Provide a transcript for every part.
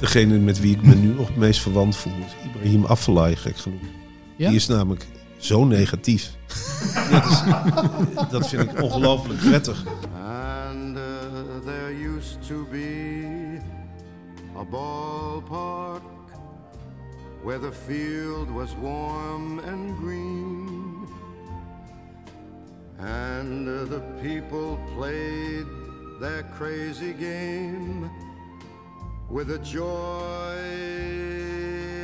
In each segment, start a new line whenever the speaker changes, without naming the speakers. Degene met wie ik me nu nog het meest verwant voel is Ibrahim Afellay, gek genoeg.
Ja?
Die is namelijk zo negatief. dat, is, dat vind ik ongelooflijk prettig.
And uh, there used to be a ballpark where the field was warm and green. And uh, the people played their crazy game with a joy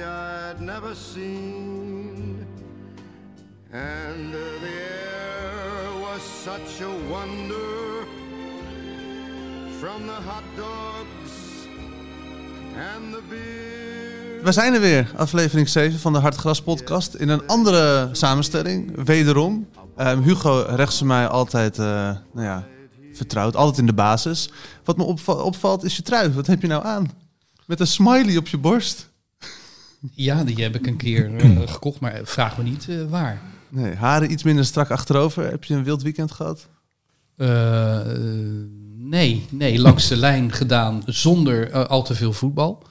I'd never seen. And uh, the air was such a wonder from the hot dogs and the beer.
We zijn er weer, aflevering 7 van de Hartgras podcast. In een andere samenstelling, wederom. Ehm, Hugo rechts van mij altijd eh, nou ja, vertrouwd, altijd in de basis. Wat me opva- opvalt is je trui. Wat heb je nou aan? Met een smiley op je borst.
Ja, die heb ik een keer
Hmm.
eh, gekocht, maar vraag me niet eh, waar.
Nee, haren iets minder strak achterover. Heb je een wild weekend gehad?
Eh, eh, nee, nee, langs de lijn gedaan zonder eh, al te veel voetbal.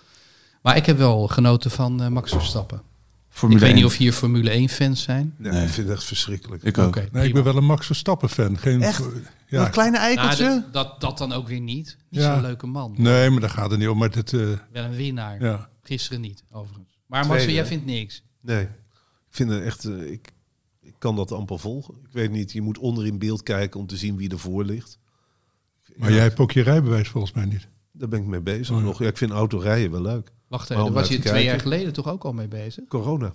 Maar ik heb wel genoten van eh, Max Verstappen.
Formule
ik weet
1.
niet of hier Formule 1-fans zijn.
Nee, Ik vind het echt verschrikkelijk.
Ik ook.
Oké,
Nee, ik ben wel een Max Verstappen fan. Geen
Echt?
Ja.
Een kleine
prima. Nou,
eikeltje?
d- dat, dat dan ook weer niet. Niet
Ja.
zo'n leuke man.
Nee, maar daar gaat het niet om. Maar dit, eh,
Wel een winnaar.
ja.
Gisteren niet, overigens. Maar Max,
Tweede,
jij
hè?
vindt niks.
Nee, ik vind het echt... eh, ik, ik kan dat amper volgen. Ik weet niet, je moet onder in beeld kijken om te zien wie ervoor ligt.
Maar jij hebt ook je rijbewijs volgens mij niet.
Daar ben ik mee bezig
Oh ja.
nog. Ja, ik vind autorijden wel leuk.
Wacht
Maar
even, daar
om
was
naar
je
te
twee jaar
kijken.
geleden toch ook al mee bezig?
Corona.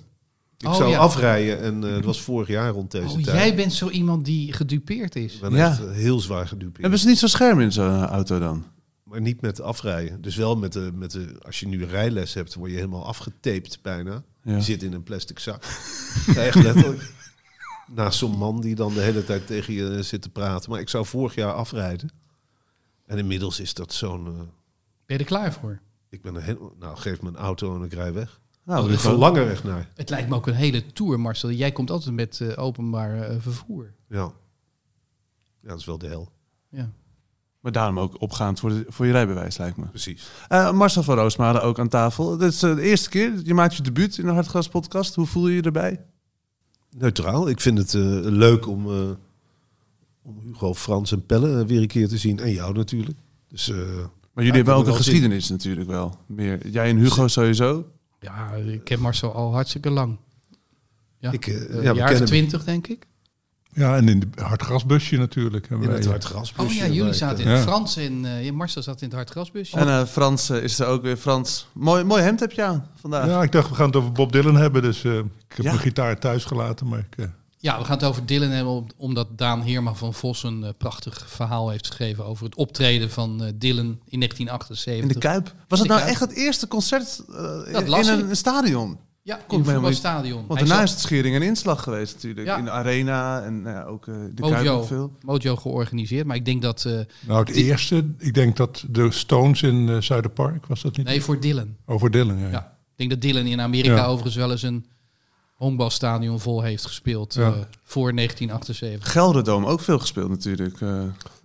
Ik
Oh,
zou
ja.
afrijden en eh, het was vorig jaar rond deze
Oh,
tijd.
jij bent zo iemand die gedupeerd is.
Ik ben
Ja.
echt eh, heel zwaar gedupeerd.
Hebben ze niet zo'n scherm in zo'n auto dan?
Maar niet met afrijden. Dus wel met de, met de... Als je nu rijles hebt, word je helemaal afgetaped bijna.
Ja.
Je zit in een plastic zak. ja, echt letterlijk. Naast zo'n man die dan de hele tijd tegen je eh, zit te praten. Maar ik zou vorig jaar afrijden. En inmiddels is dat zo'n... eh,
Ben je er klaar voor?
ik ben er heel... Nou, geef me een auto en ik rij weg.
Oh,
Nou,
ik
Hugo.
verlang er echt naar.
Het lijkt me ook een hele tour, Marcel. Jij komt altijd met eh, openbaar eh, vervoer.
Ja. Ja, dat is wel de hel.
Ja.
Maar daarom ook opgaand voor, de- voor je rijbewijs, lijkt me.
Precies.
Eh, Marcel van Roosmalen ook aan tafel. Dit is eh, de eerste keer. Je maakt je debuut in de Hartgras podcast. Hoe voel je je erbij?
Neutraal. Ik vind het eh, leuk om, eh, om Hugo, Frans en Pelle eh, weer een keer te zien. En jou natuurlijk. Dus eh,
Maar jullie
Ja, ik
hebben ook een
heb er wel zin in.
geschiedenis natuurlijk wel. Meer. Jij en Hugo sowieso.
ja, ik ken Marcel al hartstikke lang. Ja,
Ik, eh, ja, we
jaar
kennen-
twintig, denk ik.
Ja, en in de hardgrasbusje natuurlijk. hebben
in
wij,
het
eh,
hard gras.
Oh ja, jullie zaten in
Ja.
het Frans en eh, ja, Marcel zat in het hartgrasbusje.
En eh, Frans eh, is er ook weer. Frans, mooi, mooi hemd heb je aan vandaag.
eh, Ja, ik dacht we gaan het over Bob Dylan hebben. Dus eh, ik heb
Ja.
mijn gitaar thuis gelaten. Maar ik, eh,
Ja, we gaan het over Dylan hebben, om- omdat Daan Heerma van Vos een eh, prachtig verhaal heeft geschreven over het optreden van eh, Dylan in 1978.
In de Kuip. Was het nou
Kuip.
echt het eerste concert eh,
las
in een,
ik.
een stadion?
Ja, in
me
het
helemaal niet-
voetbalstadion.
Want
Hij
daarna
zat-
is het schering en inslag geweest natuurlijk.
Ja.
In de arena en nou ja, ook eh, de Kuip ook
Mojo,
veel.
Mojo georganiseerd, maar ik denk dat... eh,
nou, het
Die-
eerste, ik denk dat de Stones in eh, Zuiderpark, was dat niet?
nee, voor Dylan.
Over Dylan, ja.
Ja. Ik denk dat Dylan in Amerika
Ja.
overigens wel eens een honkbalstadion vol heeft gespeeld
Ja.
eh, voor 1978.
Gelderdoom ook veel gespeeld natuurlijk. eh,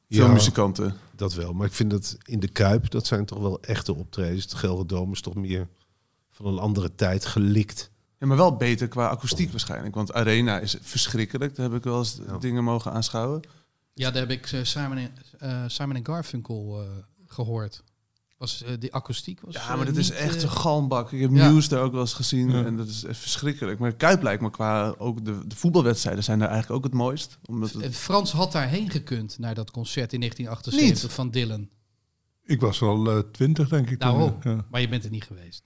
veel
Ja.
muzikanten.
Dat wel, maar ik vind dat in de Kuip, dat zijn toch wel echte optredens. Het Gelderdome is toch meer van een andere tijd gelikt.
Ja, maar wel beter qua akoestiek waarschijnlijk. Want Arena is verschrikkelijk. Daar heb ik wel eens
Ja.
dingen mogen aanschouwen.
Ja, daar heb ik eh, Simon, en, eh, Simon en Garfunkel eh, gehoord. Was, eh, die akoestiek was...
Ja,
eh,
maar dat is
niet,
echt
eh,
een galmbak. Ik heb
ja.
nieuws daar ook wel eens gezien
Ja.
en dat is echt verschrikkelijk. Maar Kuip lijkt me qua ook de, de voetbalwedstrijden zijn daar eigenlijk ook het mooist. Omdat het-
Eh, Frans had daarheen gekund naar dat concert in 1978 van Dylan.
Ik was al twintig, denk ik. toen,
Daarom.
ja.
Maar je bent er niet geweest.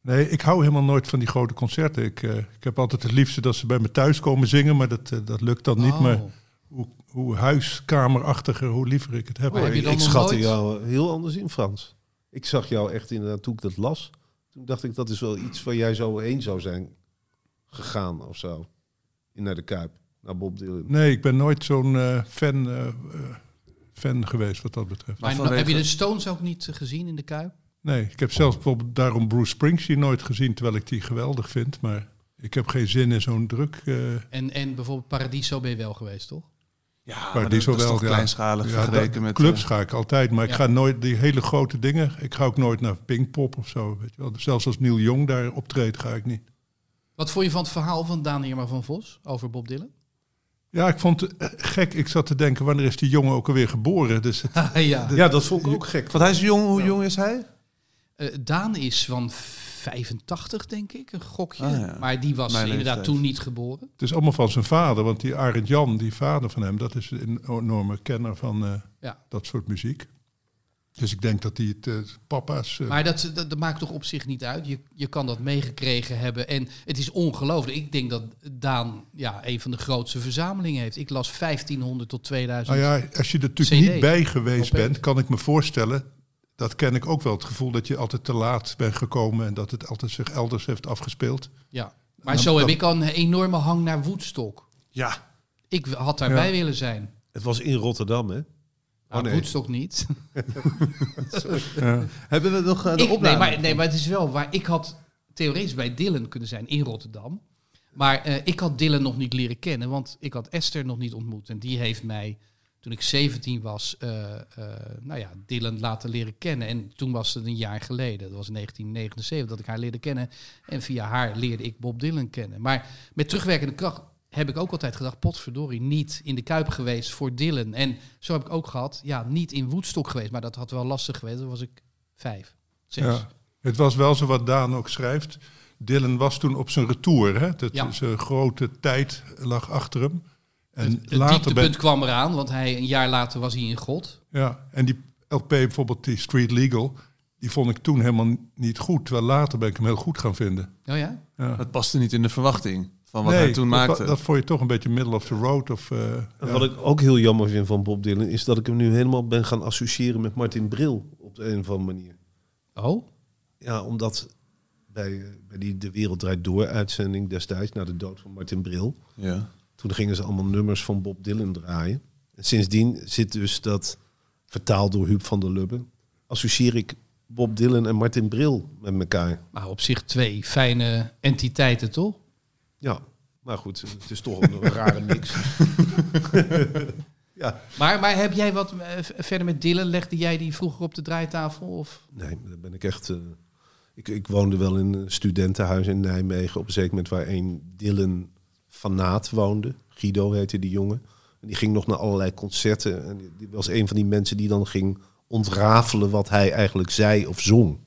Nee, ik hou helemaal nooit van die grote concerten. Ik, eh, ik heb altijd het liefste dat ze bij me thuis komen zingen, maar dat, eh, dat lukt dan niet.
Oh.
Maar hoe, hoe huiskamerachtiger, hoe liever ik het heb.
Oh, heb je dan
ik
nog
schatte
nooit-
jou eh, heel anders in, Frans. Ik zag jou echt inderdaad, toen ik dat las, toen dacht ik dat is wel iets waar jij zo heen zou zijn gegaan of zo. In naar de Kuip, naar Bob Dylan.
Nee, ik ben nooit zo'n eh, fan, eh, eh, fan geweest wat dat betreft.
Maar
vanwege-
heb je dus- de Stones ook niet eh, gezien in de Kuip?
Nee, ik heb zelfs bijvoorbeeld daarom Bruce Springsteen nooit gezien, terwijl ik die geweldig vind. Maar ik heb geen zin in zo'n druk. eh,
En, en bijvoorbeeld Paradiso ben je wel geweest, toch?
ja, maar
maar
dat,
die
dat is
zowel,
toch
ja.
kleinschalig
ja,
vergeleken
dat-
met...
clubs
eh,
ga ik altijd, maar ik
Ja.
ga nooit die hele grote dingen. Ik ga ook nooit naar Pinkpop of zo. Weet je wel. Zelfs als Neil Young daar optreedt, ga ik niet.
Wat vond je van het verhaal van Daan Irma van Vos over Bob Dylan?
Ja, ik vond het eh, gek. Ik zat te denken, wanneer is die jongen ook alweer geboren? Dus het-
ja.
Ja, dat vond ik ook gek.
eh, want hij is jong, hoe jong is hij?
Eh, Daan is van 85, denk ik, een gokje.
Ah, ja.
Maar die was
Mijn
inderdaad
leeftijd.
toen niet geboren.
het is allemaal van zijn vader. Want die Arend Jan, die vader van hem, dat is een enorme kenner van eh,
Ja.
dat soort muziek. Dus ik denk dat hij het eh, papa's... eh,
Maar dat, dat, dat maakt toch op zich niet uit. Je, je kan dat meegekregen hebben. En het is ongelooflijk. Ik denk dat Daan ja, een van de grootste verzamelingen heeft. Ik las 1500 tot 2000.
nou ja, als je er natuurlijk
CD.
niet bij geweest
Op-
bent, kan ik me voorstellen... Dat ken ik ook wel, het gevoel dat je altijd te laat bent gekomen... en dat het altijd zich elders heeft afgespeeld.
Ja. Maar zo heb ik al een enorme hang naar Woodstock.
Ja,
Ik had daarbij willen zijn.
het was in Rotterdam, hè?
Maar
nee.
Woodstock niet.
Hebben we nog eh, de
Ik, nee,
opname?
maar, nee, maar het is wel waar. Ik had theoretisch bij Dylan kunnen zijn in Rotterdam. Maar eh, ik had Dylan nog niet leren kennen, want ik had Esther nog niet ontmoet. En die heeft mij, toen ik 17 was, eh, eh, nou ja, Dylan laten leren kennen. En toen was het een jaar geleden, dat was 1979, dat ik haar leerde kennen. En via haar leerde ik Bob Dylan kennen. Maar met terugwerkende kracht heb ik ook altijd gedacht, potverdorie, niet in de Kuip geweest voor Dylan. En zo heb ik ook gehad, ja, niet in Woodstock geweest. Maar dat had wel lastig geweest, dan was ik vijf, zes.
Ja. Het was wel zo wat Daan ook schrijft. Dylan was toen op zijn retour. Hè? Dat
Ja.
Zijn grote tijd lag achter hem. En
het het
later
dieptepunt
ben-
kwam eraan, want hij, een jaar later was hij in God.
ja, en die LP bijvoorbeeld, die Street Legal, die vond ik toen helemaal niet goed. Terwijl later ben ik hem heel goed gaan vinden.
Oh ja?
Ja.
Het paste niet in de verwachting van wat
Nee,
hij toen
dat-
maakte.
Dat, vond je toch een beetje middle of the road. Of, eh,
En
ja.
wat ik ook heel jammer vind van Bob Dylan is dat ik hem nu helemaal ben gaan associëren met Martin Bril op de een of andere manier.
Oh?
Ja, omdat bij, eh, bij die De Wereld Draait Door uitzending destijds, na de dood van Martin Bril,
ja.
toen gingen ze allemaal nummers van Bob Dylan draaien. En sindsdien zit dus dat, vertaald door Huub van der Lubbe, associeer ik Bob Dylan en Martin Bril met elkaar.
Maar op zich twee fijne entiteiten, toch?
Ja, maar goed, het is toch een rare mix. ja,
Maar, maar heb jij wat eh, v- verder met Dylan? Legde jij die vroeger op de draaitafel? Of?
nee, daar ben ik echt... eh, ik, ik woonde wel in een studentenhuis in Nijmegen op een zeker moment waar een Dylan fanaat woonde. Guido heette die jongen. En die ging nog naar allerlei concerten. En die, die was een van die mensen die dan ging ontrafelen wat hij eigenlijk zei of zong.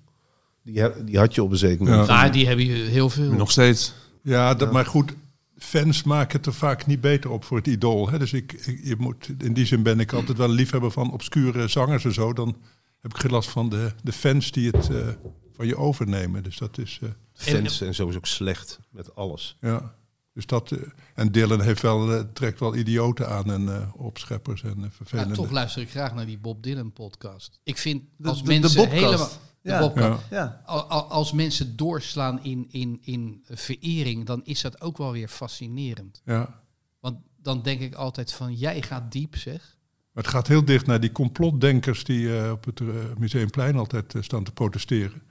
Die, he- die had je op een zeker moment.
Ja.
Nou, die hebben je heel veel.
Nog steeds.
Ja, dat, maar goed, fans maken het er vaak niet beter op voor het idool. Hè? Dus ik, ik- je moet, in die zin ben ik altijd wel een liefhebber van obscure zangers en zo. Dan heb ik geen last van de, de fans die het eh, van je overnemen. Dus dat is. eh,
Fans en zo is ook slecht met alles.
ja. Dus dat, eh, en Dylan heeft wel, eh, trekt wel idioten aan en eh, opscheppers en eh,
Ja,
vervelende.
toch luister ik graag naar die Bob Dylan podcast. Ik vind
De-
als
de- de
mensen
Bobcast.
helemaal... de
Ja.
Bobcast.
Ja.
Ja.
Al- al- Als mensen doorslaan in, in, in verering, dan is dat ook wel weer fascinerend.
ja.
Want dan denk ik altijd van, jij gaat diep, zeg.
Maar het gaat heel dicht naar die complotdenkers die eh, op het eh, Museumplein altijd eh, staan te protesteren.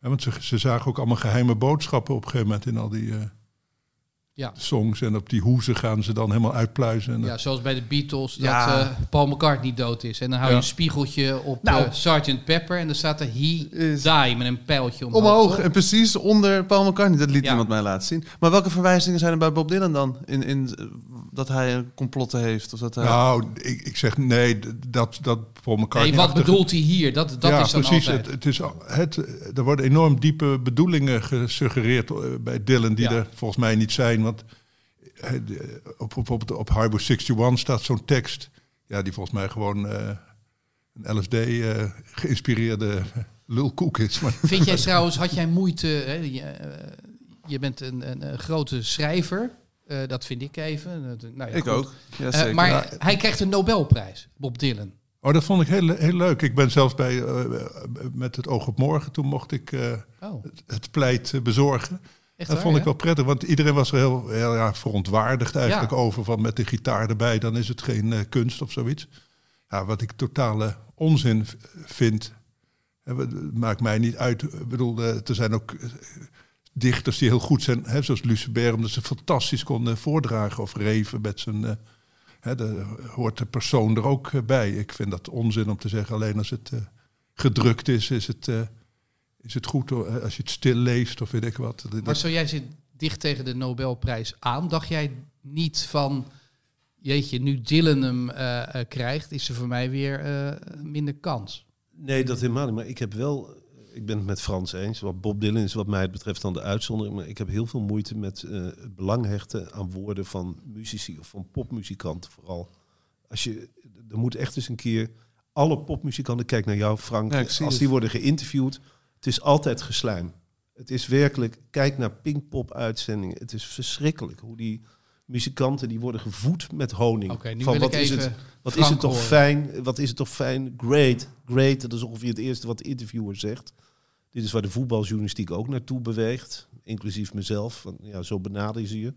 Ja, want ze, ze zagen ook allemaal geheime boodschappen op een gegeven moment in al die eh,
Ja.
songs. En op die hoezen gaan ze dan helemaal uitpluizen. En dat-
Ja, zoals bij de Beatles, dat
Ja.
eh, Paul McCartney dood is. En dan hou je
Ja.
een spiegeltje op
Nou.
eh, Sgt. Pepper en dan staat er He
Is-
Die met een pijltje omhoog.
Omhoog en precies onder Paul McCartney. Dat liet
Ja.
iemand mij laten zien. Maar welke verwijzingen zijn er bij Bob Dylan dan? In, in, eh, dat hij een complotten heeft? Of dat hij...
Nou, ik, ik zeg nee, d- dat, dat Paul McCartney...
Nee, wat bedoelt hij hier? Dat, dat
ja,
is dan
precies.
altijd.
Het, het is, al- het, er worden enorm diepe bedoelingen gesuggereerd eh, bij Dylan, die
Ja.
er volgens mij niet zijn. Want eh, de- op, bijvoorbeeld op Harbor 61 staat zo'n tekst, ja, die volgens mij gewoon eh, een LSD-geïnspireerde eh, lulkoek is. Maar
Vind jij trouwens, had jij moeite... Hè, je, eh, je bent een, een, een grote schrijver. Eh, dat vind ik even. Dat- nou ja,
ik
goed.
ook. Ja,
Eh,
zeker.
maar
Ja.
hij krijgt een Nobelprijs, Bob Dylan.
Oh, dat vond ik heel, heel leuk. Ik ben zelfs bij, eh, met het oog op morgen, toen mocht ik eh,
Oh,
het, het pleit eh, bezorgen.
echt
dat
waar,
vond ik
ja?
wel prettig, want iedereen was er heel, heel ja, verontwaardigd eigenlijk
Ja.
over. Van met de gitaar erbij, dan is het geen eh, kunst of zoiets. Ja, wat ik totale onzin v- vind. Hè, wat- Het maakt mij niet uit. Ik bedoel, eh, er zijn ook eh, dichters die heel goed zijn, hè, zoals Lucebert, omdat ze fantastisch konden voordragen of reven met zijn. eh hè, daar hoort de persoon er ook eh, bij. Ik vind dat onzin om te zeggen, alleen als het eh, gedrukt is, is het. eh, is het goed hoor. als je het stil leest of weet ik wat? Dat- dat-
Maar zo jij zit dicht tegen de Nobelprijs aan. Dacht jij niet van... Jeetje, nu Dylan hem eh, eh, krijgt, is er voor mij weer eh, minder kans.
Nee, dat helemaal niet. Maar ik heb wel, ik ben het met Frans eens. Wat Bob Dylan is wat mij betreft dan de uitzondering. Maar ik heb heel veel moeite met eh, het belang hechten aan woorden van muzici of van popmuzikanten vooral. Als je, er moet echt eens een keer alle popmuzikanten, kijk naar jou Frank,
Ja, ik zie
als
het.
die worden geïnterviewd, het is altijd geslijm. Het is werkelijk, kijk naar Pinkpop uitzendingen, het is verschrikkelijk hoe die muzikanten die worden gevoed met honing.
Oké, nu
Van
wil
wat
ik
is het?
even...
Wat
Frank
is het toch
horen.
fijn? Wat is het toch fijn? Great, great. Dat is ongeveer het eerste wat de interviewer zegt. Dit is waar de voetbaljournalistiek ook naartoe beweegt, inclusief mezelf. Want ja, zo benader je je.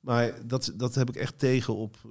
Maar dat, dat heb ik echt tegen op eh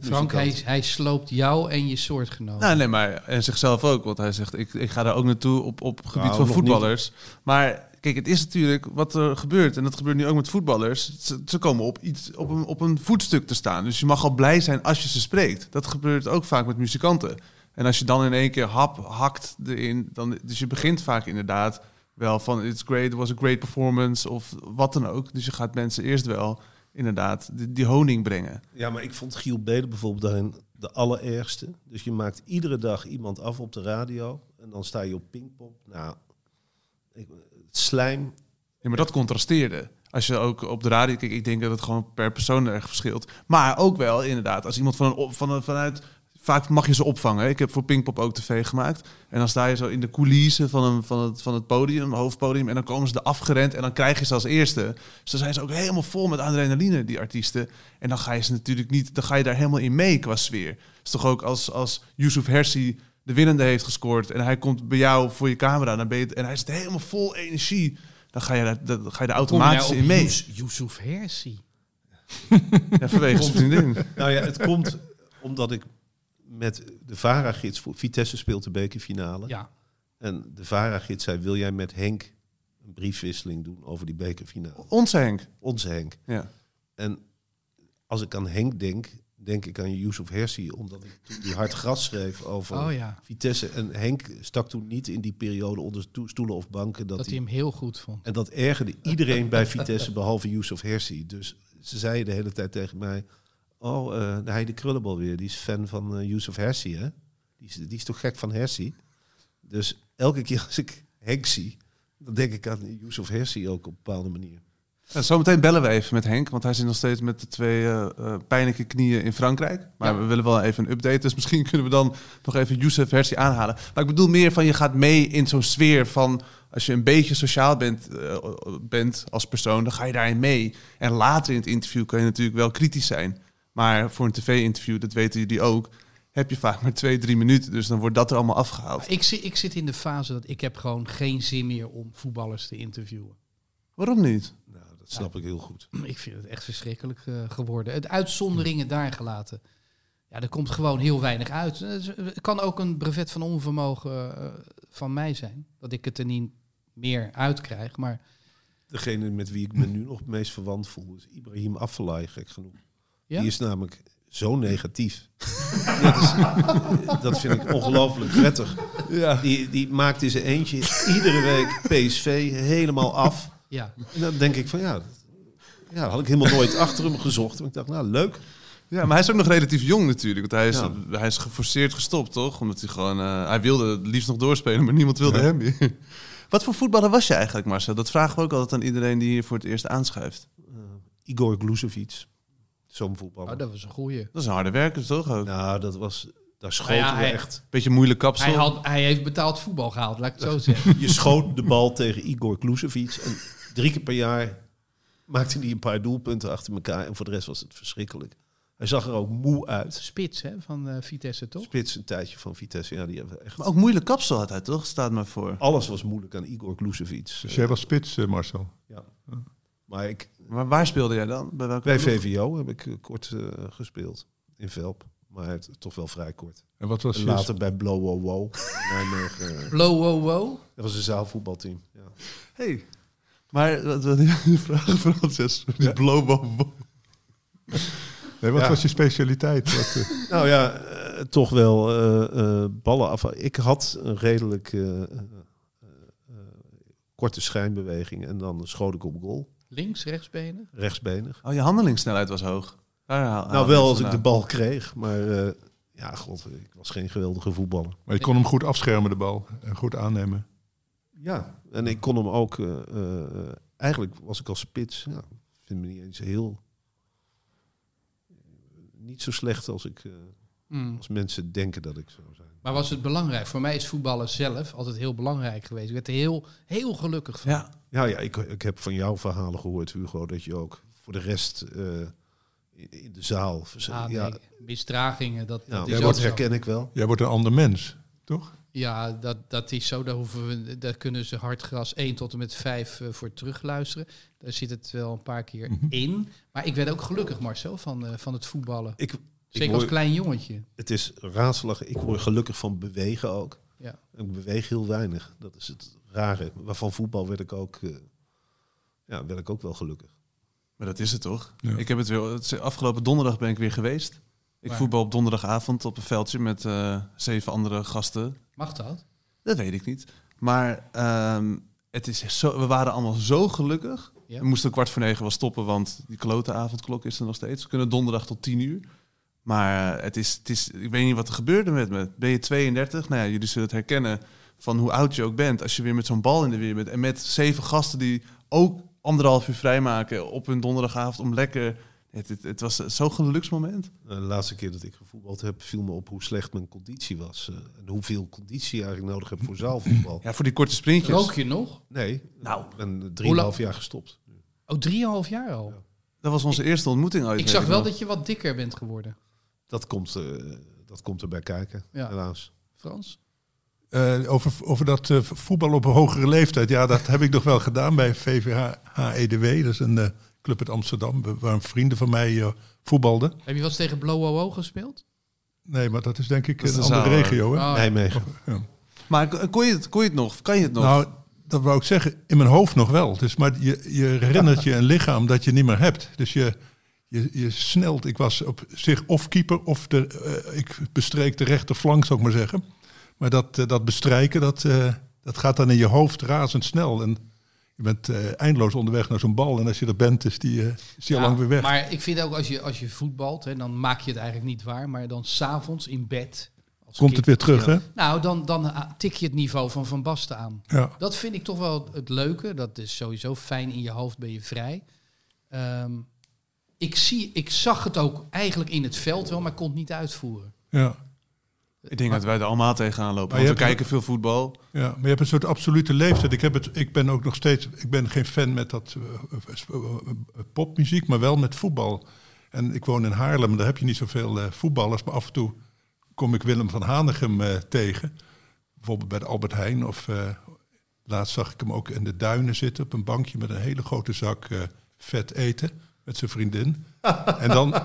Frank, hij,
popmuziek.
hij sloopt jou en je soortgenoten.
Nou, nee, maar en zichzelf ook. Want hij zegt, ik, ik ga daar ook naartoe op, op gebied
Nou,
van
nog
voetballers. Maar kijk, het is natuurlijk wat er gebeurt. En dat gebeurt nu ook met voetballers. Ze, ze komen op, iets, op, een, op een voetstuk te staan. Dus je mag al blij zijn als je ze spreekt. Dat gebeurt ook vaak met muzikanten. En als je dan in één keer hap hakt erin. Dan, dus je begint vaak inderdaad wel van... It's great, it was a great performance. Of wat dan ook. Dus je gaat mensen eerst wel inderdaad die, die honing brengen.
Ja, maar ik vond Giel Beden bijvoorbeeld daarin de allerergste. Dus je maakt iedere dag iemand af op de radio. En dan sta je op Pinkpop. Nou, ik, het slijm.
Ja, maar dat contrasteerde. Als je ook op de radio kijkt, ik denk dat het gewoon per persoon erg verschilt. Maar ook wel, inderdaad, als iemand van een, op- van een- vanuit... Vaak mag je ze opvangen. Ik heb voor Pinkpop ook tv gemaakt. En dan sta je zo in de coulissen van, een, van, het, van het podium, hoofdpodium. En dan komen ze er afgerend en dan krijg je ze als eerste. Dus dan zijn ze ook helemaal vol met adrenaline, die artiesten. En dan ga je ze natuurlijk niet... Dan ga je daar helemaal in mee qua sfeer. is toch ook als, als Yusuf Hersi de winnende heeft gescoord... en hij komt bij jou voor je camera dan ben je, en hij zit helemaal vol energie... Dan ga je daar, dan ga je nou daar automatisch in mee.
Yusuf Hersi.
Ja, vanwege zijn vriendin.
Nou ja, het komt omdat ik met de VARA-gids... voor Vitesse speelt de bekerfinale.
Ja.
En de VARA-gids zei, wil jij met Henk een briefwisseling doen over die bekerfinale?
Ons Henk.
Onze Henk.
Ja.
En als ik aan Henk denk, denk ik aan Yusuf Hersi, omdat ik toen die hard gras schreef over
Oh ja.
Vitesse. En Henk stak toen niet in die periode onder toe- stoelen of banken. Dat
Dat hij
hij,
hem heel goed vond.
en dat ergerde iedereen bij Vitesse, behalve Yusuf Hersi. Dus ze zeiden de hele tijd tegen mij, oh, eh de Heide Krullenbal weer, die is fan van eh, Yusuf Hersi, hè? Die is, die is toch gek van Hersi? Dus elke keer als ik Henk zie, dan denk ik aan Yusuf Hersi ook op een bepaalde manier.
En Eh, zometeen bellen we even met Henk, want hij zit nog steeds met de twee eh, eh, pijnlijke knieën in Frankrijk. Maar
Ja.
we willen wel even een update, dus misschien kunnen we dan nog even Youssef versie aanhalen. Maar ik bedoel meer van je gaat mee in zo'n sfeer van als je een beetje sociaal bent, eh, bent als persoon, dan ga je daarin mee. En later in het interview kan je natuurlijk wel kritisch zijn. Maar voor een tv-interview, dat weten jullie ook, heb je vaak maar twee, drie minuten. Dus dan wordt dat er allemaal afgehaald.
Ik, zi- ik zit in de fase dat ik heb gewoon geen zin meer om voetballers te interviewen.
Waarom niet?
Nou, dat snap ik heel goed.
Ik vind het echt verschrikkelijk eh, geworden. Het uitzonderingen daar gelaten. Ja, er komt gewoon heel weinig uit. Eh, z- Het kan ook een brevet van onvermogen eh, van mij zijn. Dat ik het er niet meer uit krijg. Maar
Degene met wie ik me nu nog het meest verwant voel is Ibrahim Afellay, gek genoeg.
Ja?
Die is namelijk zo negatief. dat, is, dat vind ik ongelooflijk prettig.
Ja.
Die, die maakt in zijn eentje iedere week PSV helemaal af.
ja,
En dan denk ik van ja, dat, ja, dat had ik helemaal nooit achter hem gezocht. Maar ik dacht, nou leuk.
Ja, maar hij is ook nog relatief jong natuurlijk. Want hij is,
Ja.
hij is geforceerd gestopt, toch? Omdat hij gewoon... eh, hij wilde het liefst nog doorspelen, maar niemand wilde
Ja.
hem meer. Wat voor voetballer was je eigenlijk, Marcel? Dat vragen we ook altijd aan iedereen die hier voor het eerst aanschuift.
Igor Glusevic. Zo'n voetballer.
Oh, dat was een goeie.
Dat is een harde werker, toch? Ook.
Nou, dat was... Daar schoten
ja,
we
hij-
echt...
Beetje moeilijk kapsel.
Hij, had, hij heeft betaald voetbal gehaald, laat ik het zo zeggen.
Je schoot de bal tegen Igor Glusevic. En drie keer per jaar maakte hij een paar doelpunten achter elkaar. En voor de rest was het verschrikkelijk. Hij zag er ook moe uit.
Spits hè, van eh, Vitesse, toch?
Spits een tijdje van Vitesse. Ja, die hebben echt...
Maar ook moeilijk kapsel had hij, toch? Staat maar voor.
Alles was moeilijk aan Igor Glusevic.
Dus jij was spits, eh, Marcel.
Maar ik,
Maar waar speelde jij dan? Bij welke
bij
ploeg?
VVO heb ik eh, kort eh, gespeeld. In Velp. Maar het, toch wel vrij kort.
En wat was
En
je...
later bij Blow Wow Wow. in Nijmegen, eh,
Blow, wow, wow.
dat was een zaalvoetbalteam. Ja.
Hey. Maar wat wil je vragen voor Francis? Die blobo.
Nee, wat
Ja.
was je specialiteit? Wat, eh,
Nou ja, eh, toch wel eh, eh, ballen af. Ik had een redelijk eh, eh, eh, korte schijnbeweging en dan schoot ik op goal,
Links, rechtsbenen.
rechtsbenig.
Oh, je handelingssnelheid was hoog. Daar haal- haal
nou, wel
het
als ik de
vandaan.
bal kreeg, maar eh, ja, god, ik was geen geweldige voetballer.
maar je kon hem goed afschermen, de bal. En goed aannemen.
Ja, en ik kon hem ook, eh, eh, eh, eigenlijk was ik als spits, ja, ik vind me niet eens heel, niet zo slecht als, ik, eh,
Mm.
als mensen denken dat ik zo zijn.
Maar was het belangrijk? Voor mij is voetballen zelf altijd heel belangrijk geweest. Ik werd er heel, heel gelukkig van.
Ja.
Ja, ja ik, ik heb van jouw verhalen gehoord, Hugo, dat je ook voor de rest eh, in- in de zaal. vers-
Ah, nee,
ja,
Misdragingen, dat,
nou,
dat is ook
dat
zo.
herken ik wel.
Jij wordt een ander mens, toch?
Ja, dat, dat is zo. Daar, hoeven we, daar kunnen ze Hartgras 1 tot en met 5 eh, voor terugluisteren. Daar zit het wel een paar keer in. Maar ik werd ook gelukkig, Marcel, van, eh, van het voetballen.
Ik, ik
Zeker
word-
als klein jongetje.
Het is raadslag. Ik word gelukkig van bewegen ook.
Ja.
Ik beweeg heel weinig. Dat is het rare. Maar van voetbal werd ik ook, eh, ja, werd ik ook wel gelukkig.
Maar dat is het toch?
Ja.
Ik heb het weer. het is- afgelopen donderdag ben ik weer geweest. Ik
Waar?
voetbal op donderdagavond op een veldje met eh, zeven andere gasten.
Mag dat?
Dat weet ik niet. Maar ehm, het is zo, we waren allemaal zo gelukkig.
Ja.
We moesten kwart voor negen wel stoppen, want die klote avondklok is er nog steeds. We kunnen donderdag tot tien uur. Maar eh, het is, het is, ik weet niet wat er gebeurde met me. Ben je 32? Nou ja, jullie zullen het herkennen van hoe oud je ook bent. Als je weer met zo'n bal in de weer bent. En met zeven gasten die ook anderhalf uur vrijmaken op hun donderdagavond om lekker... Het, het, het was zo'n geluksmoment.
Nou, de laatste keer dat ik gevoetbald heb, viel me op hoe slecht mijn conditie was. eh, en hoeveel conditie je eigenlijk nodig hebt voor zaalvoetbal.
Ja, voor die korte sprintjes.
Rook je nog?
Nee,
Nou.
ik ben drieënhalf jaar gestopt.
Oh, drieënhalf jaar al.
Dat was onze eerste ontmoeting ooit.
ik
weet
zag wel
nog.
dat je wat dikker bent geworden,
Dat komt, eh, dat komt erbij kijken,
Ja.
helaas.
Frans.
Eh, over, over dat eh, voetbal op een hogere leeftijd. Ja, dat heb ik nog wel gedaan bij VVH HEDW. Dat is een eh, club uit Amsterdam wa- waar een vrienden van mij eh, voetbalden.
Heb je wel eens tegen Blow Wow Wow gespeeld?
Nee, maar dat is denk ik
Dat is
een
de
andere
zaal,
regio. Hè?
Oh,
Nijmegen.
Maar k- kon je, het, kon je het nog? Kan je het nog?
Nou, dat wou ik zeggen, in mijn hoofd nog wel. Dus, maar je, je herinnert je een lichaam dat je niet meer hebt. Dus je, je, je snelt. Ik was op zich of keeper of de, eh, ik bestreek de rechterflank, zou ik maar zeggen. Maar dat, eh, dat bestrijken, dat, eh, dat gaat dan in je hoofd razendsnel. En je bent eh, eindeloos onderweg naar zo'n bal. En als je er bent, is die, eh, is die al lang weer weg.
Maar ik vind ook als je, als je voetbalt, hè, dan maak je het eigenlijk niet waar. Maar dan s'avonds in bed. Als
Komt
kind-
het weer terug, hè?
Nou, dan, dan ah, tik je het niveau van Van Basten aan.
Ja.
Dat vind ik toch wel het leuke. Dat is sowieso fijn in je hoofd, ben je vrij. Ehm, ik, zie, ik zag het ook eigenlijk in het veld wel, maar kon het niet uitvoeren.
ja.
Ik denk dat wij er allemaal tegenaan lopen.
Maar je
Want we
hebt-
kijken veel voetbal.
Ja, maar je hebt een soort absolute leeftijd. Ik, heb het, ik ben ook nog steeds, ik ben geen fan met dat eh, eh, eh, popmuziek, maar wel met voetbal. En ik woon in Haarlem, daar heb je niet zoveel eh, voetballers, maar af en toe kom ik Willem van Hanegem eh, tegen. Bijvoorbeeld bij de Albert Heijn. Of eh, laatst zag ik hem ook in de duinen zitten op een bankje met een hele grote zak eh, vet eten met zijn vriendin. en dan,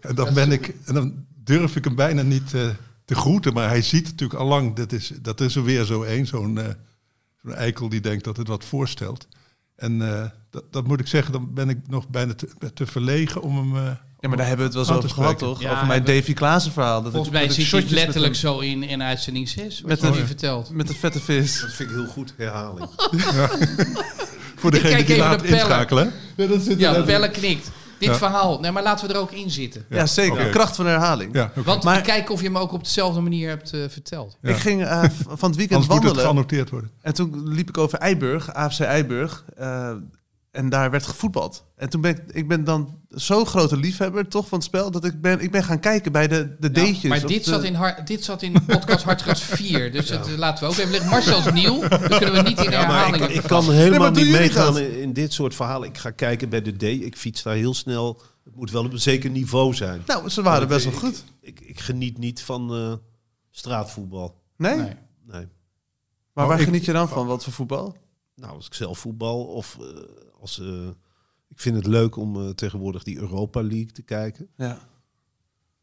en dan, ben ik, en dan durf ik hem bijna niet eh, te groeten. Maar hij ziet natuurlijk allang, dat is, dat is er weer zo één, zo'n eh, zo'n eikel die denkt dat het wat voorstelt. En eh, dat, dat moet ik zeggen, dan ben ik nog bijna te, te verlegen om hem... eh,
Ja, maar daar hebben we het wel
Aan
eens
te
over gehad,
spreken.
toch?
Ja,
over mijn
we-
Davy Klaassen verhaal. Dat
Volgens
ik-
mij
dat ik
zit het
shotjes met
letterlijk
hem-
zo in, in uitzending 6, wat
Met
je
een-
nu vertelt.
Met een vette vis.
Dat vind ik heel goed, herhaling.
voor
Ik
degene
kijk
die
even
laat
naar Pelle.
inschakelen. hè?
Ja, Pelle knikt. Dit
Ja.
verhaal. Nee, maar laten we er ook in zitten.
Ja,
Ja, zeker.
oké.
De kracht van herhaling.
Ja, oké.
Want
Maar-
kijk of je hem ook op dezelfde manier hebt eh, verteld.
Ja.
Ik ging eh, v- van het weekend
Anders moet het
wandelen.
geannoteerd worden.
En toen liep ik over Eiburg, AFC Eiburg. eh, en daar werd gevoetbald. En toen ben ik, ik ben dan zo'n grote liefhebber toch van het spel... dat ik ben, ik ben gaan kijken bij de, de
Nou,
deetjes.
maar
of
dit,
de-
zat in har- dit zat in podcast Hartgras 4. Dus dat eh, laten we ook even liggen. Marcel is nieuw. Dat kunnen we niet in
Ja, maar
herhaling.
ik, ik
vasten.
kan helemaal
maar doen
niet
jullie
meegaan
dat?
in, in dit soort verhalen. Ik ga kijken bij de D. Ik fiets daar heel snel. Het moet wel op een zeker niveau zijn.
Nou, ze
Oh,
waren
Want
best wel
ik-
goed.
Ik, ik geniet niet van eh, straatvoetbal.
Nee?
Nee.
Nee.
Maar
Oh,
waar
ik-
geniet je dan van? Wat voor voetbal?
Nou, als ik zelf voetbal of eh, als... eh, ik vind het leuk om eh, tegenwoordig die Europa League te kijken.
Ja.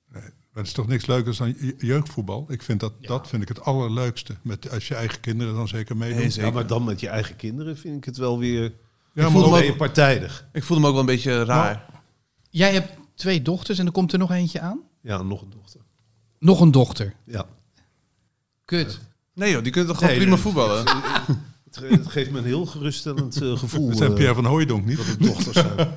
Maar het is toch niks leukers dan je- jeugdvoetbal? Ik vind dat, dat vind ik het allerleukste. Met, als je eigen kinderen dan zeker meedoen.
Nee, zeker.
Ja, maar dan met je eigen kinderen vind ik het wel weer...
Ja,
voel
maar
Dan
me
ook-
ben je partijdig.
Ik voelde me ook wel een beetje raar.
Jij hebt twee dochters en er komt er nog eentje aan.
Ja, nog een dochter.
Nog een dochter.
Ja.
Kut.
Nee joh, die kunnen toch gewoon
Nee,
prima
nee.
voetballen?
Het, ge- het geeft me een heel geruststellend eh, gevoel.
dat zijn
eh,
Pierre van Hooijdonk niet.
dat het dochters zijn.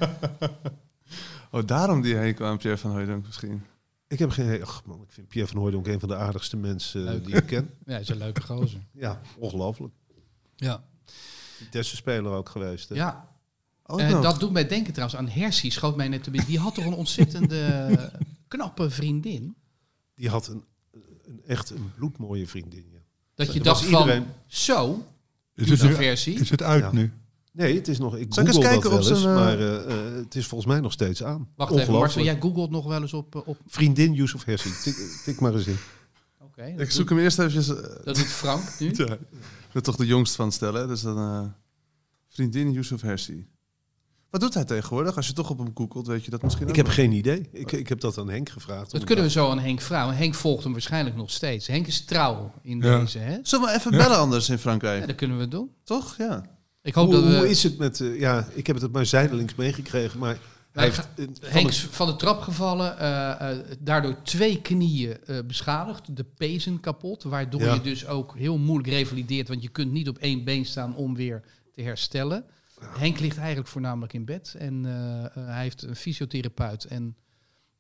Oh, daarom die heen kwam, Pierre van Hooydonk misschien.
Ik heb geen. Ach man, ik vind Pierre van Hooydonk een van de aardigste mensen eh, die ik ken.
Ja, is een leuke gozer.
Ja, ongelooflijk.
Ja.
Vitesse-speler ook geweest. hè.
ja.
Oh,
Eh,
nou.
dat doet mij denken trouwens aan Hersie, schoot mij net te binnen. Die had toch een ontzettende knappe vriendin.
Die had een, een echt een bloedmooie vriendin. Ja.
Dat je
Er
dacht
was
van,
iedereen-
zo,
Is
doet
het,
een
nu,
versie.
is het uit
Ja.
nu?
Nee, het is nog. Ik
Zal ik eens
google
kijken
dat
op
wel eens,
zijn, eh,
maar eh, eh, het is volgens mij nog steeds aan.
Wacht even, Marcel,
Ongelooflijk.
jij googelt nog wel eens op... eh, op...
Vriendin Yusuf Hersi. Tik, tik maar eens in.
Oké,
Ik
dat,
zoek
doet-
hem eerst eventjes... eh,
dat doet Frank nu.
Ja. Ik ben toch de jongst van stellen, dus dan eh, vriendin Yusuf Hersi. Wat doet hij tegenwoordig? Als je toch op hem googelt, weet je dat misschien
Ik
ook
heb
nog.
geen idee. Ik, ik heb dat aan Henk gevraagd.
Dat kunnen we zo aan Henk vragen. Henk volgt hem waarschijnlijk nog steeds. Henk is trouw in
Ja.
deze, hè?
Zullen we even bellen anders in Frankrijk?
Ja, dat kunnen we doen.
Toch? Ja.
Ik hoop
Hoe,
dat we...
hoe is het met... eh, ja, ik heb het maar zijdelings meegekregen, maar... Hij
Nou,
heeft, eh, van
Henk
het-
is van de trap gevallen, eh, eh, daardoor twee knieën eh, beschadigd, de pezen kapot, waardoor
Ja.
je dus ook heel moeilijk revalideert, want je kunt niet op één been staan om weer te herstellen. Henk ligt eigenlijk voornamelijk in bed en eh, eh, hij heeft een fysiotherapeut en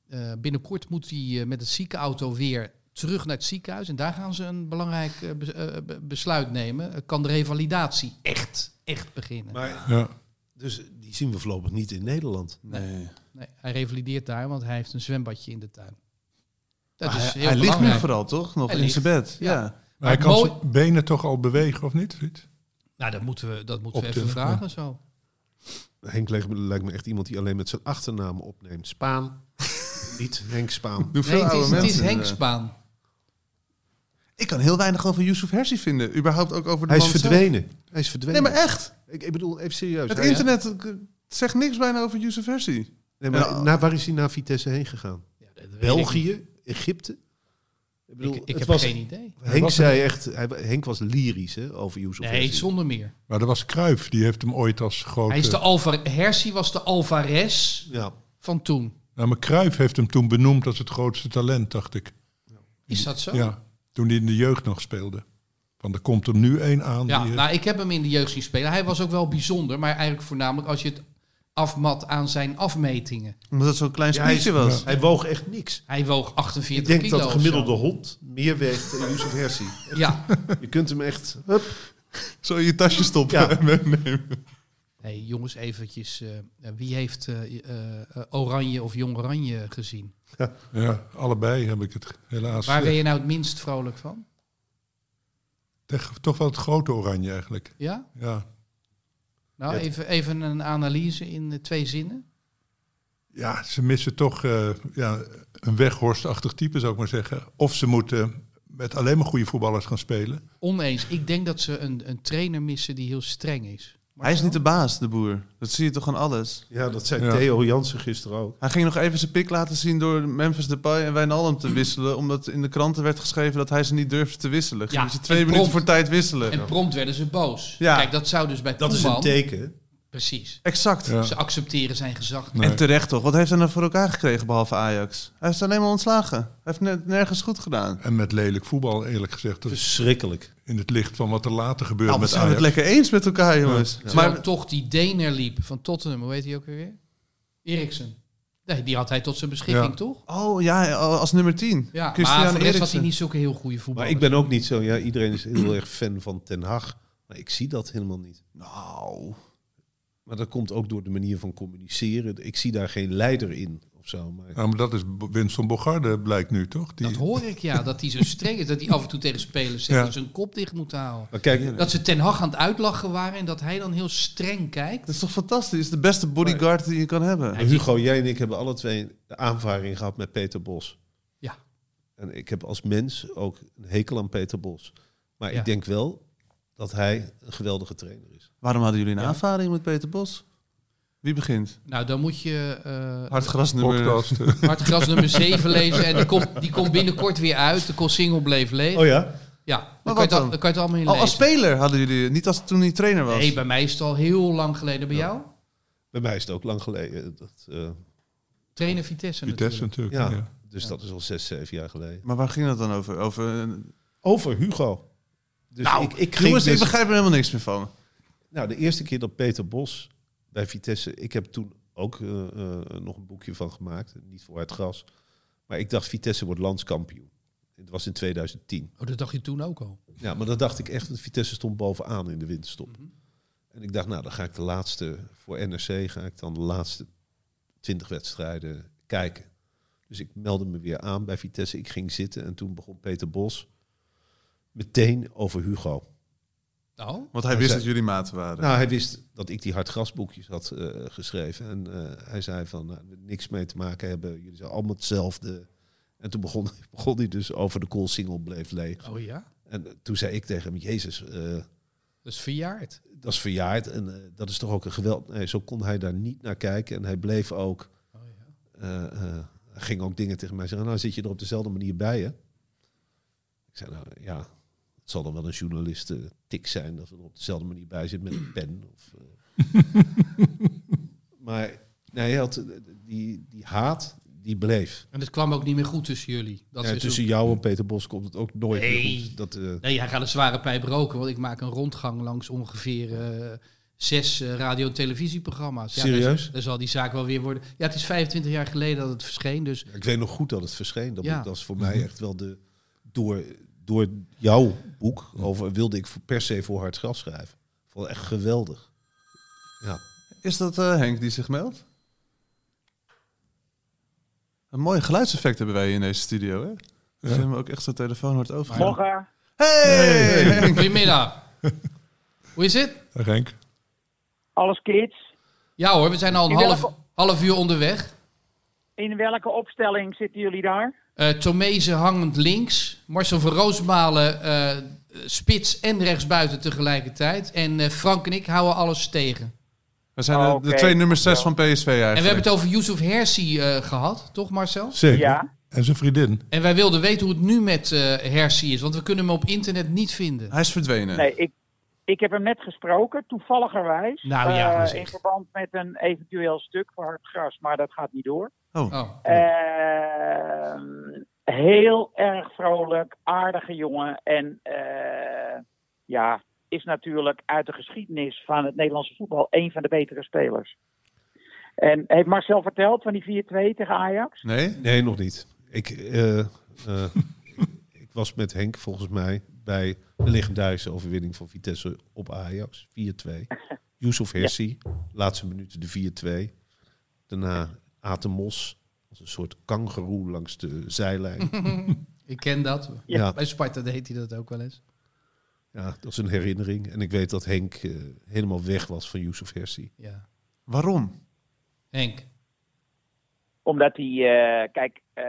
eh, binnenkort moet hij eh, met het ziekenauto weer terug naar het ziekenhuis en daar gaan ze een belangrijk eh, bes- eh, be- besluit nemen. Eh, kan de revalidatie echt, echt beginnen?
maar,
Ja.
dus die zien we voorlopig niet in Nederland.
Nee.
Nee, hij revalideert daar, want hij heeft een zwembadje in de tuin. Dat
Maar
is
hij
heel
hij ligt nu
belangrijk.
vooral, toch? Nog
Hij
in
ligt.
zijn bed. Ja.
Maar hij
Maar
kan
mooi-
zijn benen toch al bewegen, of niet? Ruud?
nou, dat moeten we, dat moeten we
Op
even
de-
vragen zo.
Eh, Henk lijkt me, lijkt me echt iemand die alleen met zijn achternaam opneemt. Spaan. Niet Henk Spaan.
Doe
Nee,
veel
het
oude
is, het is
mensen,
Henk
eh.
Spaan.
Ik kan heel weinig over Yusuf Hersi vinden. Überhaupt ook over de
Hij is
man zelf.
verdwenen. Hij is
Nee,
verdwenen.
maar echt.
ik, ik bedoel, even serieus.
Het
Hij-
internet eh, zegt niks bijna over Yusuf Hersi.
Nee, maar
Ja.
naar, waar is hij naar Vitesse heen gegaan?
Ja, dat weet Ik,
België? Egypte? Ik,
niet.
bedoel,
ik, ik
het
heb
was,
geen idee.
Hij
Henk
was
zei echt... Hij, Henk was lyrisch hè, over Yusuf
Nee,
Hezzy.
zonder meer.
Maar dat was Kruif, die heeft hem ooit als grote...
Hij is de Alvar Hersie was de Alvarez
Ja.
van toen.
Nou, maar Kruif heeft hem toen benoemd als het grootste talent, dacht ik.
Is dat zo?
Ja, toen hij in de jeugd nog speelde. Want er komt er nu één aan.
Ja,
die, eh,
nou, ik heb hem in de jeugd zien spelen. Hij was ook wel bijzonder, maar eigenlijk voornamelijk als je het afmat aan zijn afmetingen.
Omdat het zo'n klein
Ja, hij is-
speeltje was.
Hij woog echt niks.
Hij woog 48
Ik denk
kilo
dat de
of
gemiddelde
zo.
hond meer weegt dan Yusuf Hersi.
Ja.
Je kunt hem echt...
Zo in je tasje stoppen
Ja.
en meenemen.
Hey, jongens, eventjes. eh, eh, wie heeft eh, eh, eh, Oranje of Jong Oranje gezien?
ja, allebei heb ik het helaas.
Waar
eh,
ben je nou het minst vrolijk van?
teg- toch wel het grote oranje eigenlijk.
Ja?
Ja.
Nou,
Ja.
even, even een analyse in eh, twee zinnen.
ja, ze missen toch eh, ja, een weghorstachtig type, zou ik maar zeggen. Of ze moeten met alleen maar goede voetballers gaan spelen.
Oneens. Ik denk dat ze een, een trainer missen die heel streng is.
Hij is niet de baas, de boer. Dat zie je toch aan alles.
Ja, dat zei
Ja.
Theo Jansen gisteren ook.
Hij ging nog even zijn pik laten zien door Memphis Depay en Wijnaldum
Mm.
te wisselen. Omdat in de kranten werd geschreven dat hij ze niet durfde te wisselen. Gingen
Ja,
ze twee
en
minuten
prompt.
voor tijd wisselen.
En prompt werden ze boos.
Ja.
Kijk, dat zou dus bij
Dat is een
Koeman-
teken. hè?
Precies.
Exact.
Ja.
Ze accepteren zijn gezag.
Nee.
En terecht toch. Wat heeft hij nou voor elkaar gekregen behalve Ajax? Hij is alleen maar ontslagen. Hij heeft net nergens goed gedaan.
En met lelijk voetbal, eerlijk gezegd. Dat is
Verschrikkelijk.
in het licht van wat er later gebeurt
Nou, we
met
zijn we het
Ajax.
lekker eens met elkaar, jongens.
Terwijl
Maar
toch die Dener liep van Tottenham. Hoe heet hij ook weer? Eriksen. Nee, die had hij tot zijn beschikking,
Ja.
toch?
Oh ja, als nummer 10.
Ja, maar voor
Christian
de rest had hij
Eriksen.
niet zulke heel goede voetbal.
Maar ik ben ook niet zo, ja, iedereen is heel erg fan van Ten Hag. Maar ik zie dat helemaal niet.
Nou,
Maar dat komt ook door de manier van communiceren. Ik zie daar geen leider in of zo. Maar
Ja, maar dat is B- Winston Bogarde, blijkt nu toch? Die,
Dat hoor ik, ja. Dat hij zo streng is. Dat hij af en toe tegen spelers zegt
Ja.
dat ze hun kop dicht moeten houden.
Maar kijk,
Dat ze Ten Hag aan het uitlachen waren en dat hij dan heel streng kijkt.
dat is toch fantastisch? De beste bodyguard die je kan hebben.
Hugo, jij en ik hebben alle twee de aanvaring gehad met Peter Bos.
Ja.
En ik heb als mens ook een hekel aan Peter Bos. Maar
Ja.
ik denk wel dat hij een geweldige trainer is.
Waarom hadden jullie een aanvaring met Peter Bos? Wie begint?
Nou, dan moet je eh,
Hartgras nummer...
podcast.
Hartgras nummer 7 lezen. En die komt, die komt binnenkort weer uit. De single bleef leeg.
Oh ja?
Ja, dan, kan
wat
je het,
dan?
al- dan kan je het allemaal in
Oh,
lezen.
als speler hadden jullie, niet als toen hij trainer was.
Nee, bij mij is het al heel lang geleden. Bij jou?
Bij mij is het ook lang geleden. Dat, eh,
Trainer Vitesse
eh, Vitesse
natuurlijk.
natuurlijk.
ja.
ja.
Dus dat is al zes, zeven jaar geleden.
Maar waar ging dat dan over? over eh, een-
Over Hugo. Dus
nou,
ik, ik ging
jongens, ik
dus-
begrijp er helemaal niks meer van.
Nou, de eerste keer dat Peter Bos bij Vitesse... Ik heb toen ook eh, eh, nog een boekje van gemaakt. Niet voor het gras. Maar ik dacht, Vitesse wordt landskampioen. Het was in 2010.
Oh, dat dacht je toen ook al.
Ja, maar dat dacht ik echt. Want Vitesse stond bovenaan in de winterstop. En ik dacht, nou, dan ga ik de laatste... Voor NRC ga ik dan de laatste 20 wedstrijden kijken. Dus ik meldde me weer aan bij Vitesse. Ik ging zitten en toen begon Peter Bos meteen over Hugo.
Nou,
Want hij
Ja,
wist
ze-
dat jullie maten waren.
Nou, hij wist dat ik die hardgrasboekjes had eh, geschreven. En eh, hij zei van, nou, niks mee te maken hebben. Jullie zijn allemaal hetzelfde. En toen begon, begon hij dus over de cool single bleef leeg.
oh ja,
En eh, toen zei ik tegen hem, Jezus, eh,
dat is verjaard.
dat is verjaard. En eh, dat is toch ook een geweld. Nee, zo kon hij daar niet naar kijken. En hij bleef ook,
Oh, ja.
eh, eh, hij ging ook dingen tegen mij zeggen. Nou, zit je er op dezelfde manier bij, hè? Ik zei, nou ja, het zal dan wel een journalist eh, tik zijn dat we er op dezelfde manier bij zitten met een pen. Of, eh. maar nee, hij had, eh, die, die haat, die bleef.
En het kwam ook niet meer goed tussen jullie. Dat
Ja,
is
tussen
ook-
jou en Peter Bos komt het ook nooit
Nee.
meer goed. Dat, eh,
Nee, hij gaat een zware pijp roken, want ik maak een rondgang langs ongeveer eh, zes eh, radio- en televisieprogramma's. Ja,
Serieus?
daar zal- Daar zal die zaak wel weer worden. Ja, het is 25 jaar geleden dat het verscheen, dus
Ja, Ik weet nog goed dat het verscheen. Dat,
Ja.
dat is voor mij echt wel de... Door, door jouw boek over wilde ik voor- per se voor hard gras schrijven. Ik vond het echt geweldig. Ja.
Is dat eh, Henk die zich meldt? Een mooi geluidseffect hebben wij hier in deze studio, hè? Dus we hebben ook echt zo'n telefoon hoort overgaan.
Morgen.
Hey! Henk!
goedemiddag. Hoe is het?
Renk.
Alles kids.
Ja hoor, we zijn al een
In
half,
welke-
half uur onderweg.
In welke opstelling zitten jullie daar?
Eh Tomezen hangend links. Marcel van Roosmalen eh, spits en rechtsbuiten tegelijkertijd. En eh, Frank en ik houden alles tegen.
We zijn de- de
Oké.
twee nummer 6 van PSV eigenlijk.
En we hebben het over Yusuf Hersi eh, gehad, toch Marcel?
Zeker.
Ja.
En zijn vriendin.
En wij wilden weten hoe het nu met eh Hersi is, want we kunnen hem op internet niet vinden.
Hij is verdwenen.
Nee, ik, ik heb hem net gesproken, toevalligerwijs.
Nou ja,
eh,
zeg.
in verband met een eventueel stuk voor hard gras, maar dat gaat niet door.
Oh.
Ehm, heel erg vrolijk, aardige jongen. En eh, ja, is natuurlijk uit de geschiedenis van het Nederlandse voetbal een van de betere spelers. En heeft Marcel verteld van die 4-2 tegen Ajax?
Nee?
Nee, nog niet. Ik, eh, eh, ik was met Henk volgens mij bij de legendarische overwinning van Vitesse op Ajax. 4-2. Yusuf Hersi, laatste minuten de 4-2. Daarna Aten Mos, als een soort kangeroe langs de zijlijn.
Ik ken dat.
ja,
Bij Sparta deed hij dat ook wel eens.
Ja, dat is een herinnering. En ik weet dat Henk eh, helemaal weg was van Yusuf Hersi.
Ja.
Waarom?
Henk.
Omdat hij, eh, kijk, eh,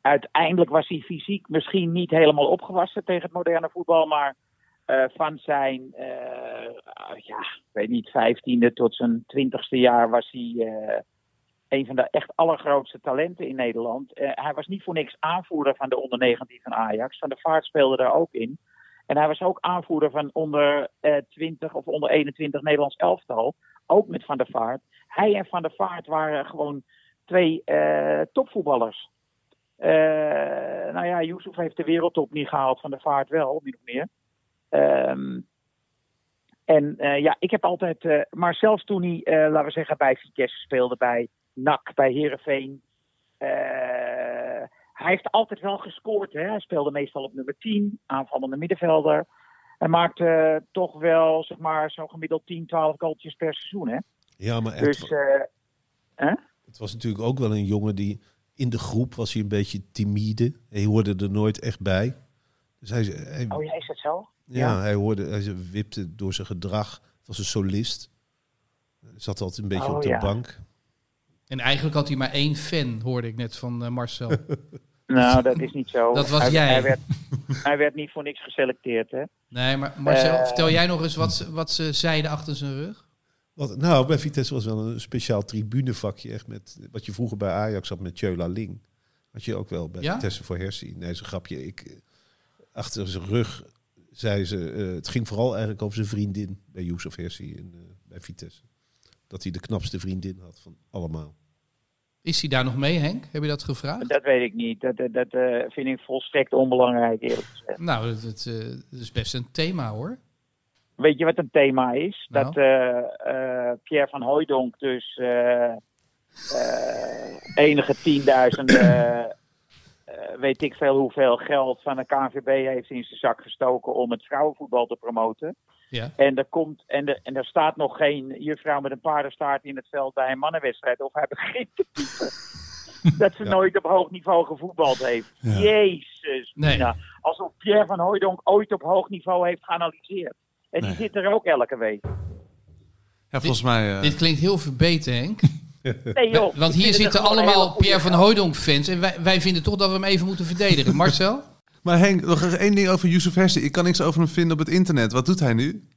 uiteindelijk was hij fysiek misschien niet helemaal opgewassen tegen het moderne voetbal, maar eh, van zijn, eh, ah, ja, ik weet niet, vijftiende tot zijn twintigste jaar was hij eh, een van de echt allergrootste talenten in Nederland. Eh, hij was niet voor niks aanvoerder van de onder 19 van Ajax. Van de Vaart speelde daar ook in. En hij was ook aanvoerder van onder eh 20 of onder 21 Nederlands elftal. Ook met Van der Vaart hij en Van der Vaart waren gewoon twee eh, topvoetballers. Eh, nou ja, Yusuf heeft de wereldtop niet gehaald, Van der Vaart wel, min of meer. Ehm, En eh, ja, ik heb altijd, eh, maar zelfs toen hij, eh, laten we zeggen, bij Vitesse speelde, bij NAC, bij Herenveen. hij heeft altijd wel gescoord. Hè? Hij speelde meestal op nummer 10, aanvallende middenvelder. Hij maakte eh, toch wel, zeg maar, zo'n gemiddeld 10, 12 goaltjes per seizoen. Hè?
Ja, maar het,
Dus eh,
het was natuurlijk ook wel een jongen die in de groep was hij een beetje timide. Hij hoorde er nooit echt bij. Dus hij, hij,
oh ja, is dat zo?
ja, hij, hoorde, hij wipte door zijn gedrag. Was een solist. Zat altijd een beetje
Oh,
op de
ja.
bank.
En eigenlijk had hij maar één fan, hoorde ik net van eh, Marcel.
Nou, dat is niet zo.
Dat was
hij,
jij.
Hij werd, hij werd niet voor niks geselecteerd, hè?
Nee, maar Marcel,
Eh.
vertel jij nog eens wat, ze- wat ze zeiden achter zijn rug?
Wat, nou, bij Vitesse was wel een speciaal tribunevakje. Echt met, wat je vroeger bij Ajax had met Tjöla Ling. Had je ook wel bij
Ja?
Vitesse voor Hersie. Nee, zo'n grapje. Ik, eh, achter zijn rug zei ze... eh, het ging vooral eigenlijk over zijn vriendin bij Youssef Hersie in, eh, bij Vitesse. Dat hij de knapste vriendin had van allemaal.
Is hij daar nog mee, Henk? Heb je dat gevraagd?
Dat weet ik niet. Dat, dat, dat eh, vind ik volstrekt onbelangrijk, eerlijk gezegd.
Nou, dat, dat, eh, dat is best een thema, hoor.
Weet je wat een thema is?
Nou.
Dat eh, eh, Pierre van Hooijdonk dus eh, eh, enige tienduizenden, eh, weet ik veel hoeveel geld van de KNVB heeft in zijn zak gestoken om het vrouwenvoetbal te promoten.
Ja.
En er, komt, en, er, en er staat nog geen juffrouw met een paardenstaart in het veld bij een mannenwedstrijd. Of hij begint te typen. Dat ze
Ja.
nooit op hoog niveau gevoetbald heeft.
Ja.
Jezus.
Nee.
Mina. Alsof Pierre van Hooijdonk ooit op hoog niveau heeft geanalyseerd. En die zit er ook elke week.
Ja, volgens mij... eh,
Dit klinkt heel verbeten, Henk.
Nee, joh,
Want
ik vind
hier
het
zitten
gewoon een hele
allemaal
goeie
Pierre van
grap.
Hooijdonk-fans. En wij, wij vinden toch dat we hem even moeten verdedigen. Marcel?
Maar Henk, nog even één ding over Yusuf Hersi. Ik kan niks over hem vinden op het internet. Wat doet hij nu?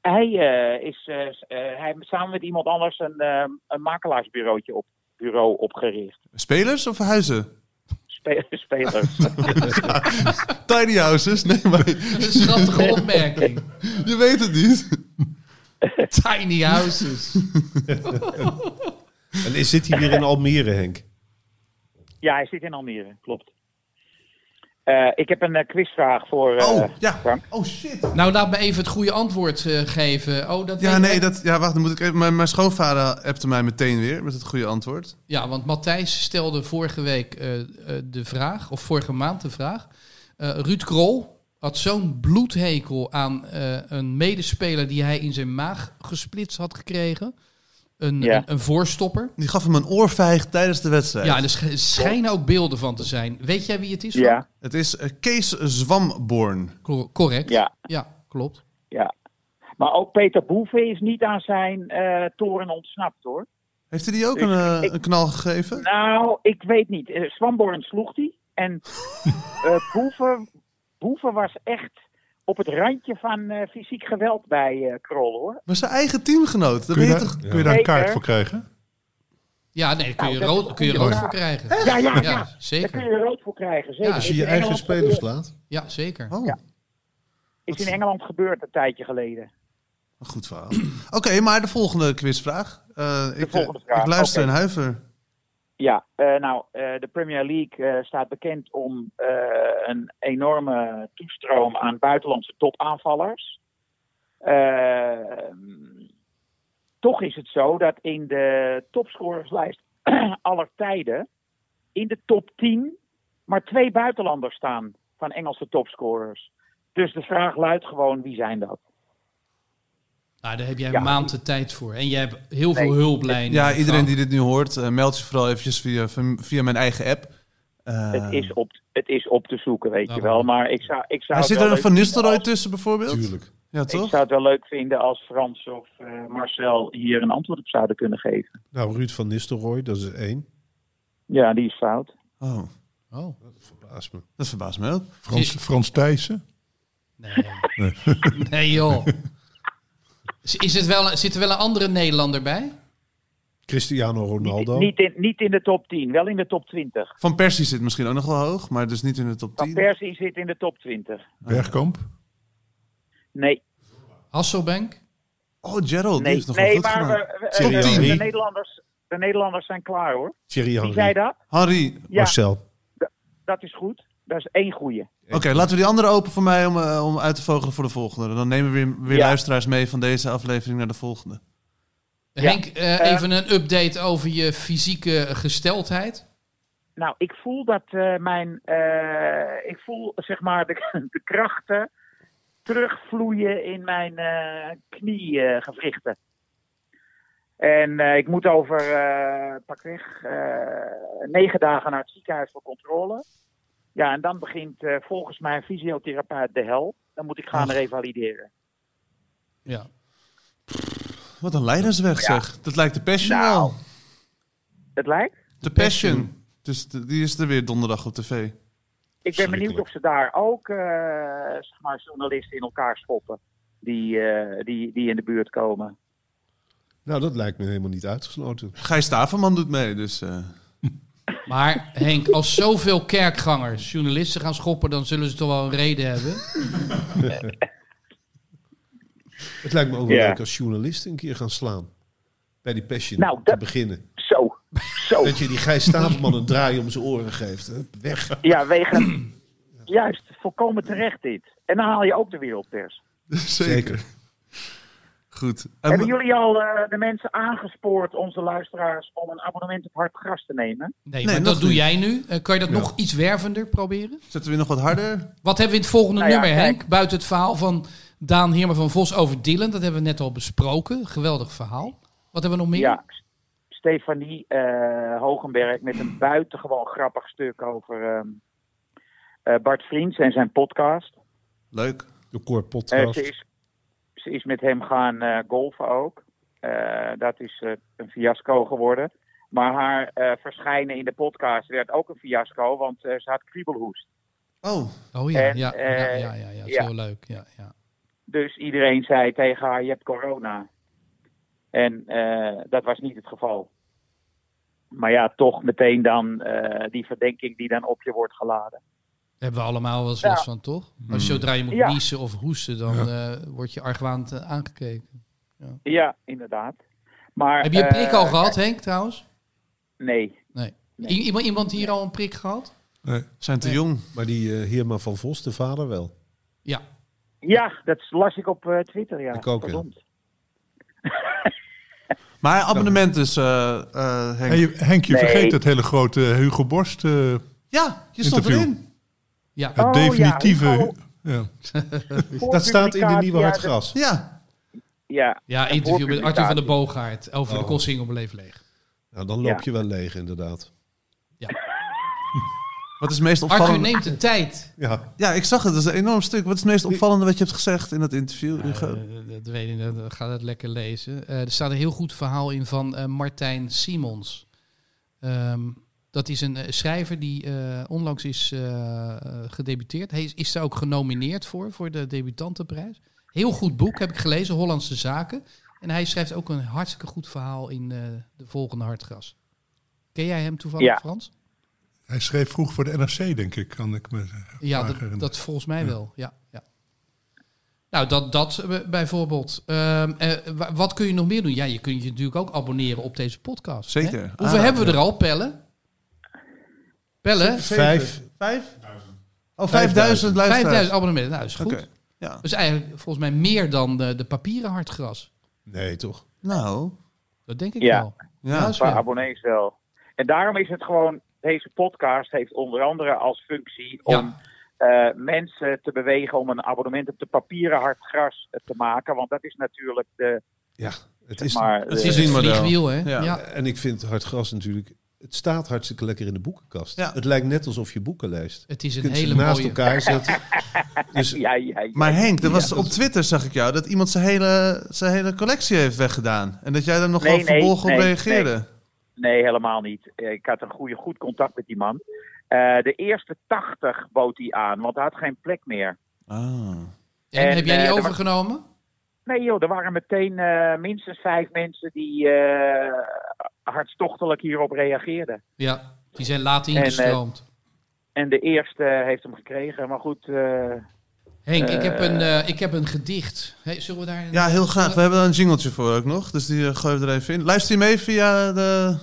Hij, eh, is, eh, s- eh, hij heeft samen met iemand anders een, eh, een makelaarsbureautje op, bureau opgericht.
Spelers of huizen?
Spe- spelers.
Tiny houses? Nee, maar
Een schattige opmerking.
je weet het niet.
Eh,
Tiny houses.
En is, zit hij weer in Almere, Henk?
ja, hij zit in Almere, klopt. Eh, ik heb een eh, quizvraag voor eh,
Oh, ja.
Frank.
Oh, shit.
Nou, laat me even het goede antwoord eh, geven. Oh, dat
Ja,
weet
nee,
ik.
dat, ja, wacht, dan moet ik even... Mijn, mijn schoonvader appte mij meteen weer met het goede antwoord.
Ja, want Matthijs stelde vorige week eh, eh, de vraag, of vorige maand de vraag. Eh, Ruud Krol had zo'n bloedhekel aan eh, een medespeler die hij in zijn maag gesplitst had gekregen. Een,
Ja.
een, een voorstopper.
Die gaf hem een oorvijg tijdens de wedstrijd.
Ja, en er sch- schijnen ook beelden van te zijn. Weet jij wie het is?
Ja,
Het is eh, Kees Zwamborn.
Cor- correct.
ja,
ja klopt.
ja. Maar ook Peter Boeven is niet aan zijn eh, toren ontsnapt, hoor.
Heeft hij die ook
Ik-
een, eh,
ik-
een knal gegeven?
Nou, ik weet niet. Eh, Swamborn sloeg die. En eh, Boeven, Boeven was echt op het randje van eh, fysiek geweld bij eh Krol, hoor.
Maar zijn eigen teamgenoot. Dat
Kun je,
weet je
daar,
toch...
kun je daar een kaart
Zeker.
voor krijgen?
Ja, nee, daar kun je
Nou, dat is
rood,
een
kun je
goede
rood
vraag.
voor krijgen.
Ja, ja, ja.
Ja,
Daar kun
zeker.
je rood voor krijgen, zeker.
Ja.
Als
Is
je
in
je eigen
Engeland
speler
gebeurd.
slaat?
Ja, zeker.
Oh,
Ja. Is in Engeland gebeurd een tijdje geleden.
een goed verhaal. Oké, maar de volgende quizvraag. Eh, ik,
volgende
eh,
vraag,
ik luister
oké.
in huiver.
Ja, eh, nou, eh, de Premier League eh, staat bekend om eh, een enorme toestroom aan buitenlandse topaanvallers. Eh, toch is het zo dat in de topscorerslijst aller tijden in de top 10 maar twee buitenlanders staan van Engelse topscorers. Dus de vraag luidt gewoon, wie zijn dat?
Nou, daar heb jij
Ja.
een maand de tijd voor. En jij hebt heel veel
Nee.
hulplijnen.
Ja, iedereen
Frank.
die dit nu hoort, eh, meld je vooral eventjes via, via mijn eigen app. Eh,
Het, is op, het is op te zoeken, weet je
Daarom.
wel. Maar ik zou, ik zou
maar
het
zit
wel
er een Van
leuk vinden
Nistelrooy
als-
tussen bijvoorbeeld?
Tuurlijk.
Ja,
Ik
toch?
zou het wel leuk vinden als Frans of eh, Marcel hier een antwoord op zouden kunnen geven.
Nou, Ruud van Nistelrooy, dat is één.
Ja, die is fout.
Oh,
Oh,
Verbaas me.
dat verbaast me ook.
Frans, Frans Thijssen?
nee. nee, joh. Is- Is het wel, zit er wel een andere Nederlander bij?
Cristiano Ronaldo.
Niet in, niet in de top 10, wel in de top 20.
Van Persie zit misschien ook nog wel hoog, maar dus niet in de top
Van
10.
Persie zit in de top 20.
Bergkamp?
Nee,
Hasselbank?
Oh, Gerald, Oh, die
nee,
heeft nog wel
nee
goed
maar
gedaan.
we, we-
Thierry
eh,
Henry.
de, Nederlanders, de Nederlanders zijn klaar hoor.
Thierry
Wie
Henry.
zei dat?
Harry,
Ja,
Marcel.
dat is goed. Dat is één goede.
Oké, laten we die andere open voor mij om, eh, om uit te vogelen voor de volgende. Dan nemen we weer, weer
Ja.
luisteraars mee van deze aflevering naar de volgende.
Ja.
Henk, eh,
Eh,
even een update over je fysieke gesteldheid.
Nou, ik voel dat eh, mijn. eh, ik voel zeg maar de, de krachten terugvloeien in mijn eh kniegewrichten. En eh, ik moet over eh, pakweg eh, negen dagen naar het ziekenhuis voor controle. Ja, en dan begint eh, volgens mijn fysiotherapeut de hel. Dan moet ik gaan revalideren.
Ja.
Wat een leidersweg zeg. Dat lijkt de Passion
Nou.
wel.
Het lijkt.
De Passion. Dus de- die is er weer donderdag op tv.
Ik ben benieuwd of ze daar ook eh, zeg maar journalisten in elkaar schoppen. Die, eh, die, die in de buurt komen.
Nou, dat lijkt me helemaal niet uitgesloten.
Gijs Staverman doet mee, dus... eh,
Maar Henk, als zoveel kerkgangers journalisten gaan schoppen, dan zullen ze toch wel een reden hebben.
Het lijkt me ook wel
Ja.
leuk als journalisten een keer gaan slaan. Bij die passion
Nou,
te
dat-
beginnen.
Zo, zo.
Dat je die Gijs Staverman een draai om zijn oren geeft. hè? Weg.
Ja, wegen. Juist, volkomen terecht dit. En dan haal je ook de wereldpers.
Zeker.
dus Goed.
Hebben
Eh,
jullie al eh, de mensen aangespoord, onze luisteraars, om een abonnement op Hard Gras te nemen?
Nee,
Nee,
maar
nog
dat doe
niet.
jij nu. Eh, kan je dat nog iets wervender proberen?
Zetten we nog wat harder?
Wat hebben we in het volgende
Nou ja,
nummer,
kijk.
Henk? Buiten het verhaal van Daan Heerma van Vos over Dylan. Dat hebben we net al besproken. Geweldig verhaal. Wat hebben we nog meer?
Ja. S- Stefanie eh Hogenberg met een buitengewoon grappig stuk over ehm, eh, Bart Vriends en zijn podcast.
Leuk.
De Cor
Eh,
podcast.
ze, is, ze is met hem gaan eh, golfen ook. Eh, dat is eh, een fiasco geworden. Maar haar eh, verschijnen in de podcast werd ook een fiasco, want eh, ze had kriebelhoest.
Oh,
Oh ja,
En,
ja, ja,
eh,
ja, ja, ja. Dat is
ja.
heel leuk. Ja, ja.
Dus iedereen zei tegen haar: Je hebt corona. En eh, dat was niet het geval. Maar ja, toch meteen dan eh, die verdenking die dan op je wordt geladen.
Daar hebben we allemaal wel eens
Ja.
last van, toch? Als je zodra je moet
Ja.
niezen of hoesten, dan eh, word je argwaand eh, aangekeken.
Ja, inderdaad. Maar,
Heb je een
eh,
prik al gehad, Henk, trouwens?
Nee.
Nee.
Nee.
I- Iemand, iemand hier al een prik gehad?
zijn te jong.
Maar die eh, Heerma van Vos, de vader wel.
Ja.
Ja, dat las ik op eh, Twitter. Ja.
Ik ook, ja.
Verdomd.
Maar abonnement dus, eh, eh, Henk.
Hey, je- Henk, je
Nee.
vergeet het hele grote Hugo Borst, eh,
Ja, je stond
Interview.
erin.
Ja.
het
Oh,
definitieve...
ja, Hugo.
ja.
Dat staat in de nieuwe
Ja,
Hard
dat-
Gras.
Ja.
Ja,
Ja,
En
interview met Arthur van
voorpublicatie.
der Boogaard over de Kossing op Leef Leeg.
Nou, dan loop
Ja.
je wel leeg inderdaad.
Wat is het meest
Arthur
opvallende?
neemt de tijd.
Ja,
Ja, ik zag het. Dat is een enorm stuk. Wat is het meest opvallende wat je hebt gezegd in dat interview? Hugo?
Eh, dat weet ik niet, dat- ga dat lekker lezen. Eh, er staat een heel goed verhaal in van eh, Martijn Simons. Ehm, dat is een eh, schrijver die eh, onlangs is eh, eh, gedebuteerd. Hij is, is daar ook genomineerd voor, voor de debutantenprijs. Heel goed boek, heb ik gelezen, Hollandse Zaken. En hij schrijft ook een hartstikke goed verhaal in eh, de volgende Hartgras. Ken jij hem toevallig,
Ja.
Frans?
Hij schreef vroeg voor de NRC, denk ik, kan ik me
Ja,
vragen.
dat, dat volgens mij wel. Ja, ja. Nou, dat, dat eh, bijvoorbeeld. Ehm, eh, wa- wat kun je nog meer doen? Ja, je kunt je natuurlijk ook abonneren op deze podcast.
Zeker. Ah,
Hè? Hoeveel
Aanraden,
hebben we er al, Pellen? Pellen?
vijf.
Vijf? Oh, 5000
5000
luisteraars.
5000 abonnementen. Nou, dat is goed.
Oké. Ja.
Dat is eigenlijk volgens mij meer dan eh, de, de papieren hartgras.
Nee, toch?
Nou.
Dat denk ik
Ja.
wel.
Ja.
is
Qua
wel.
abonnees wel. En daarom is het gewoon, deze podcast heeft onder andere als functie om eh, mensen te bewegen om een abonnement op de papieren hard gras eh, te maken. Want dat is natuurlijk de.
Ja, het
Zeg
is...
maar, eh,
het
de-
is een model.
vliegwiel, hè?
Ja.
Ja.
En ik vind Hard Gras natuurlijk... Het staat hartstikke lekker in de boekenkast.
Ja.
Het lijkt net alsof je boeken leest.
Het is
Je
een
kunt
hele
ze naast
mooie...
elkaar zetten. Dus
ja, ja, ja.
Maar Henk, er was op Twitter zag ik jou dat iemand zijn hele, zijn hele collectie heeft weggedaan. En dat jij daar nog
Nee,
wel
nee,
verbolgen op
nee,
reageerde.
Nee, helemaal niet. Eh, Ik had een goede, goed contact met die man. Eh, de eerste 80 bood hij aan, want hij had geen plek meer.
Ah.
En,
En,
heb jij die
eh, er was-
overgenomen?
Nee joh, er waren meteen eh, minstens vijf mensen die eh, hartstochtelijk hierop reageerden.
Ja, die zijn laat
eh,
ingestroomd.
En de eerste heeft hem gekregen. Maar goed, eh,
Henk, ik, heb een, eh, ik heb een gedicht. Hey, zullen we daar...
Ja, heel graag. We hebben daar een jingletje voor ook nog. Dus die eh, gooien we er even in. Luister je mee via de,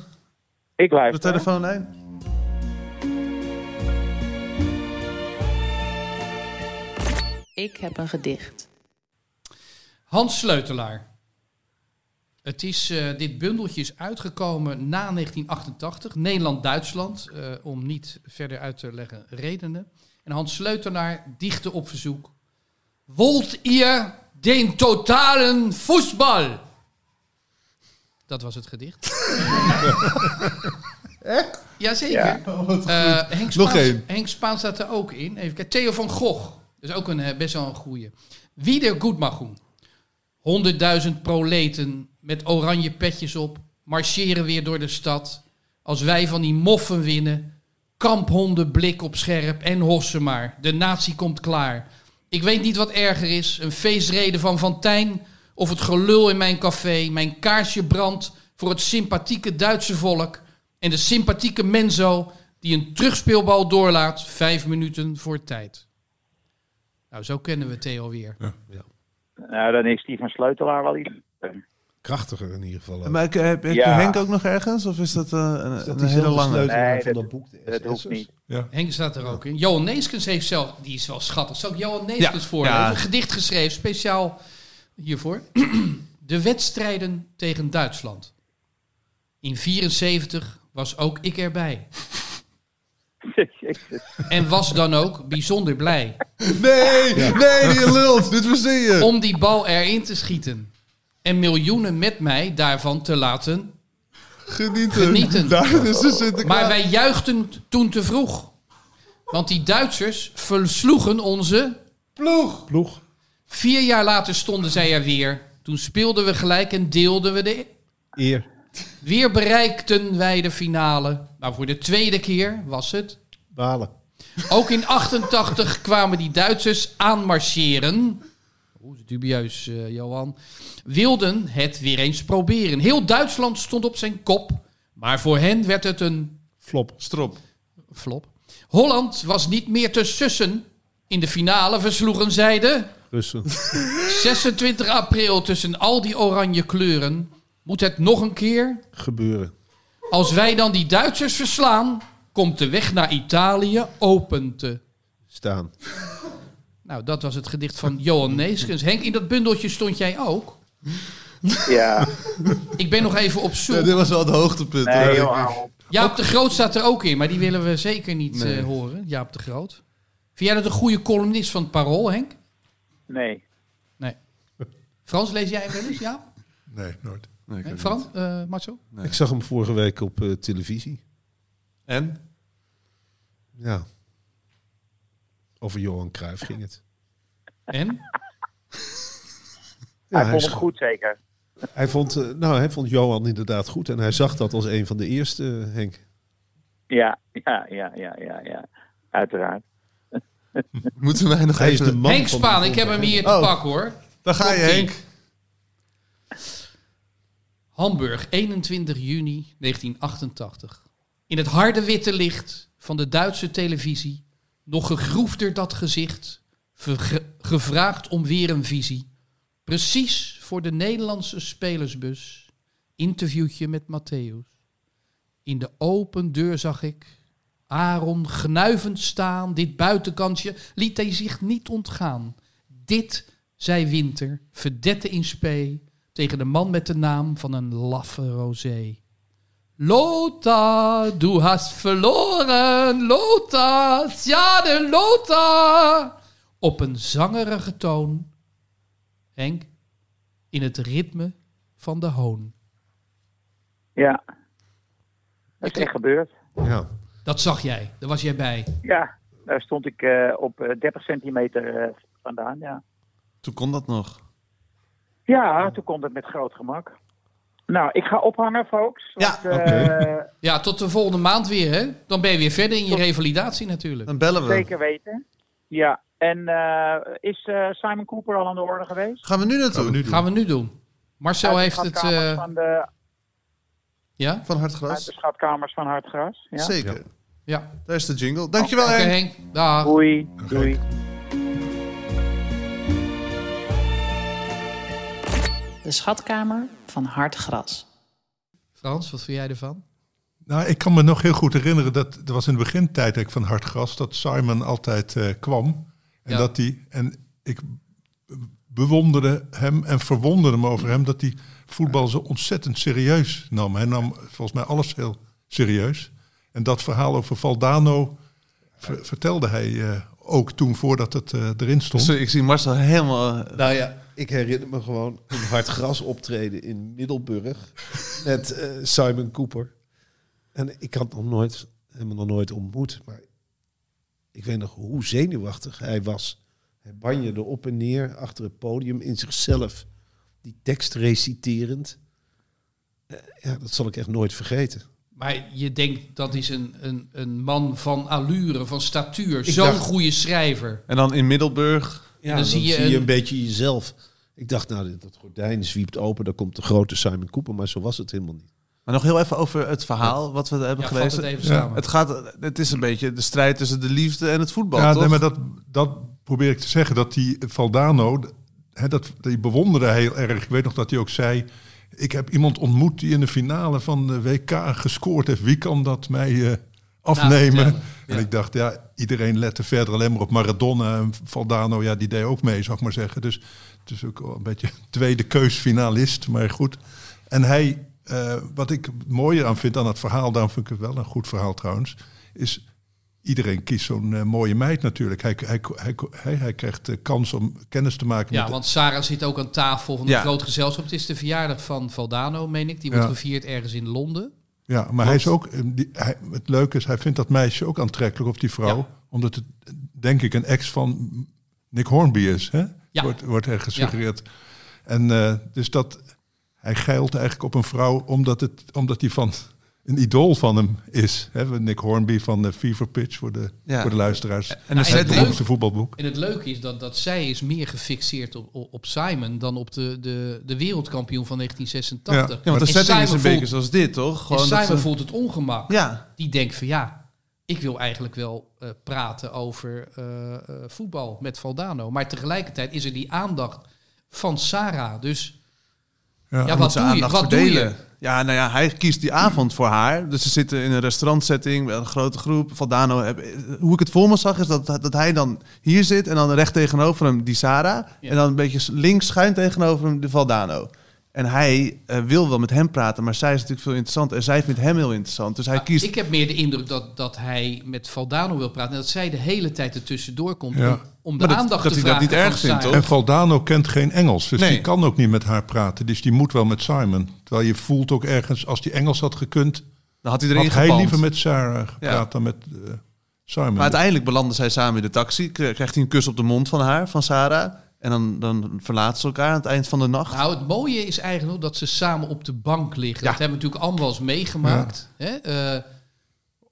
ik
de
luister.
telefoonlijn?
Ik heb een gedicht.
Hans Sleutelaar. Het is, eh, dit bundeltje is uitgekomen na 1988. Nederland-Duitsland, eh, om niet verder uit te leggen redenen. En Hans Sleutelaar dichtte op verzoek. Wolt ihr den totalen voetbal? Dat was het gedicht. Echt? Jazeker. Eh, Henk,
Nog
Spaan,
één.
Henk Spaan staat er ook in. Even kijken. Theo van Gogh. Dat is ook een, eh, best wel een goeie. Wie der Goedmagoen. Honderdduizend proleten met oranje petjes op marcheren weer door de stad. Als wij van die moffen winnen, kamphonden blik op scherp en hossen maar. De natie komt klaar. Ik weet niet wat erger is, een feestreden van Fantijn of het gelul in mijn café. Mijn kaarsje brandt voor het sympathieke Duitse volk en de sympathieke Menzo die een terugspeelbal doorlaat vijf minuten voor tijd. Nou, zo kennen we Theo weer.
Nou, dan is die van Sleutelaar wel iets.
Krachtiger in ieder geval. ook.
Maar ik- eh, heb, heb je
Ja.
Henk ook nog ergens? Of is dat eh, een,
Is dat
een hele
diezelfde
lange?
sleutelaar
Nee,
van
dat-
dat boek. de
Dat hoeft
SS'ers?
niet.
Henk staat er ook in. Johan Neeskens heeft zelf, die is wel schattig. Zal ik Johan Neeskens
Ja.
voorlezen?
Ja.
Een gedicht geschreven, speciaal hiervoor. De wedstrijden tegen Duitsland. In 74 was ook ik erbij. En was dan ook bijzonder blij
Nee, nee, die lult. Dit verzin je.
om die bal erin te schieten. En miljoenen met mij daarvan te laten
Genieten. dus
Genieten.
Daar is de Sinterklaas.
Maar wij juichten toen te vroeg. Want die Duitsers versloegen onze ploeg.
Ploeg.
Vier jaar later stonden zij er weer. Toen speelden we gelijk en deelden we de...
Eer.
Weer bereikten wij de finale. Maar voor de tweede keer was het...
Balen.
Ook in 88 kwamen die Duitsers aanmarcheren. Oeh, dubieus, eh, Johan. Wilden het weer eens proberen. Heel Duitsland stond op zijn kop. Maar voor hen werd het een
Flop.
Strop.
flop. Holland was niet meer te sussen. In de finale versloegen zij de
Russen.
26 april tussen al die oranje kleuren. Moet het nog een keer?
Gebeuren.
Als wij dan die Duitsers verslaan, komt de weg naar Italië open te.
Staan.
Nou, dat was het gedicht van Johan Neeskens. Henk, in dat bundeltje stond jij ook.
Ja,
Ik ben nog even op
Ja,
zoek.
dit was wel het hoogtepunt.
nee, joh, hou op.
Jaap de Groot staat er ook in, maar die willen we zeker niet eh, horen. Jaap de Groot. Vind jij dat een goede columnist van het Parool, Henk?
Nee.
Frans, lees jij hem wel eens, Jaap?
Nee, nooit.
Nee, ik
Hè,
heb
Frans, eh Marcel?
Ik zag hem vorige week op eh, televisie.
niet. En?
Ja. Over Johan Cruijff ging het.
En?
Ja,
hij vond
is
het goed zeker.
goed. Hij vond, eh, nou, hij vond Johan inderdaad goed. En hij zag dat als een van de eerste, eh, Henk.
Ja, ja, ja, ja, ja, ja. Uiteraard.
Moeten wij nog
Hij is
even...
de man
Henk
van
Spaan,
de
ik heb hem hier te
Oh.
pakken hoor.
Daar ga je,
Komt-ie.
Henk.
Hamburg, 21 juni 1988. In het harde witte licht van de Duitse televisie, nog gegroefder dat gezicht, verge- gevraagd om weer een visie. Precies voor de Nederlandse spelersbus, interviewtje met Matthäus. In de open deur zag ik Aaron gnuivend staan, dit buitenkantje liet hij zich niet ontgaan. Dit, zei Winter, verdette in spee tegen de man met de naam van een laffe rosé. Lota, du hast verloren. Lota, ja de Lota. Op een zangerige toon. Henk, in het ritme van de hoon.
Ja. Dat is echt gebeurd.
Ja.
Dat zag jij, daar was jij bij.
Ja, daar stond ik eh, op eh, 30 centimeter eh, vandaan, ja.
Toen kon dat nog.
Ja, toen komt het met groot gemak. Nou, ik ga ophangen, folks. Want,
Ja,
eh,
Ja, tot de volgende maand weer, hè? Dan ben je weer verder in je revalidatie natuurlijk.
Dan bellen we.
Zeker weten. Ja, en eh, is eh, Simon Cooper al aan de orde geweest?
Gaan we nu naartoe?
Gaan we nu doen. Marcel
Uit
heeft
de
het...
schatkamers
eh,
van de,
ja?
Van
uit de
Hartgras?
schatkamers van Hartgras. Ja?
Zeker.
Ja.
Daar is de jingle. Dankjewel,
Oké,
Henk.
Henk. Dag.
Doei, doei.
De schatkamer van hard gras.
Frans, wat vind jij ervan?
Nou, ik kan me nog heel goed herinneren dat er was in de begintijd eigenlijk van Hartgras dat Simon altijd eh, kwam en
Ja.
dat die en ik bewonderde hem en verwonderde me over hem dat hij voetbal zo ontzettend serieus nam. Hij nam volgens mij alles heel serieus. En dat verhaal over Valdano ver- vertelde hij eh, ook toen voordat het eh, erin stond.
Sorry, ik zie Marcel helemaal... eh,
Nou ja, ik herinner me gewoon een hard gras optreden in Middelburg met eh, Simon Cooper. En ik had nog nooit, hem nog nooit ontmoet, maar ik weet nog hoe zenuwachtig hij was. Hij banjerde op en neer achter het podium in zichzelf, die tekst reciterend. Eh, ja, dat zal ik echt nooit vergeten.
Maar je denkt dat is een, een, een man van allure, van statuur.
Ik
Zo'n
dacht-
goede schrijver.
En dan in Middelburg.
Ja,
dan
dan,
zie
zie,
je
je,
een-
een beetje jezelf. Ik dacht, nou, dit- dat gordijn zwiept open, daar komt de grote Simon Cooper, maar zo was het helemaal niet.
Maar nog heel even over het verhaal wat we hebben
Ja, vat het
gelezen.
even
Ja.
samen.
Het, gaat, het is een beetje de strijd tussen de liefde en het voetbal,
ja,
toch?
nee, maar dat, dat probeer ik te zeggen. Dat die Valdano, hè, dat, die bewonderde hij heel erg. Ik weet nog dat hij ook zei... Ik heb iemand ontmoet die in de finale van de WK gescoord heeft. Wie kan dat mij eh, afnemen?
vertellen,
en ik dacht, ja, iedereen lette verder alleen maar op Maradona. En Valdano, ja, die deed ook mee, zou ik maar zeggen. Dus het is ook wel een beetje tweede keusfinalist, maar goed. En hij, eh, wat ik mooier aan vind aan het verhaal... daarom vind ik het wel een goed verhaal trouwens... is iedereen kiest zo'n eh, mooie meid natuurlijk. Hij, hij, hij, hij, hij krijgt de kans om kennis te maken
Ja,
met...
want Sarah zit ook aan tafel van een
Ja.
groot gezelschap. Het is de verjaardag van Valdano, meen ik. Die wordt
Ja.
gevierd ergens in Londen.
ja, maar hij is ook... eh, Die, hij, het leuke is, hij vindt dat meisje ook aantrekkelijk, of die vrouw.
Ja.
Omdat het, eh, denk ik, een ex van Nick Hornby is. Hè?
Ja.
Wordt, wordt er gesuggereerd. En eh, dus dat... Hij geilt eigenlijk op een vrouw omdat, het, omdat die van... Een idool van hem is. Hè? Nick Hornby van de Fever Pitch voor de,
Ja.
voor de luisteraars.
en de
Ja, en het
Het
setting.
leuk-
beroemdste voetbalboek.
En het leuke is dat, dat zij is meer gefixeerd op, op op Simon dan op de, de, de wereldkampioen van 1986.
Ja, want de
En
setting is
Simon
een beetje
voelt-
zoals dit, toch?
en
dat
Simon
ze-
voelt het ongemak.
Ja,
Die denkt van ja, ik wil eigenlijk wel eh, praten over eh, eh, voetbal met Valdano. Maar tegelijkertijd is er die aandacht van Sarah. Dus ja,
dan
wat,
ze
doe je,
aandacht
wat doe
verdelen.
je?
Ja, nou ja, hij kiest die avond voor haar. Dus ze zitten in een restaurantsetting met een grote groep. Valdano, heb- hoe ik het voor me zag, is dat, dat hij dan hier zit en dan recht tegenover hem die Sarah.
Ja.
En dan een beetje links schuin tegenover hem de Valdano. En hij eh, wil wel met hem praten, maar zij is natuurlijk veel interessanter. En zij vindt hem heel interessant. Dus hij
Maar
kiest...
ah, Ik heb meer de indruk dat, dat hij met Valdano wil praten. En dat zij de hele tijd ertussendoor komt
Ja.
om, om de
Maar dat-
aandacht
dat
te
hij dat
vragen.
niet erg
van
vindt,
Simon.
hoor.
En Valdano kent geen Engels, dus
Nee.
die kan ook niet met haar praten. Dus die moet wel met Simon. Terwijl je voelt ook ergens, als die Engels had gekund,
Dan had hij
had
erin
hij
gepand.
liever met Sarah gepraat
Ja.
dan met eh, Simon.
Maar uiteindelijk belanden zij samen in de taxi. Kri- Krijgt hij een kus op de mond van haar, van Sarah. En dan, dan verlaten ze elkaar aan het eind van de nacht.
Nou, het mooie is eigenlijk dat ze samen op de bank liggen. Dat hebben we natuurlijk allemaal eens meegemaakt. Hè? Eh,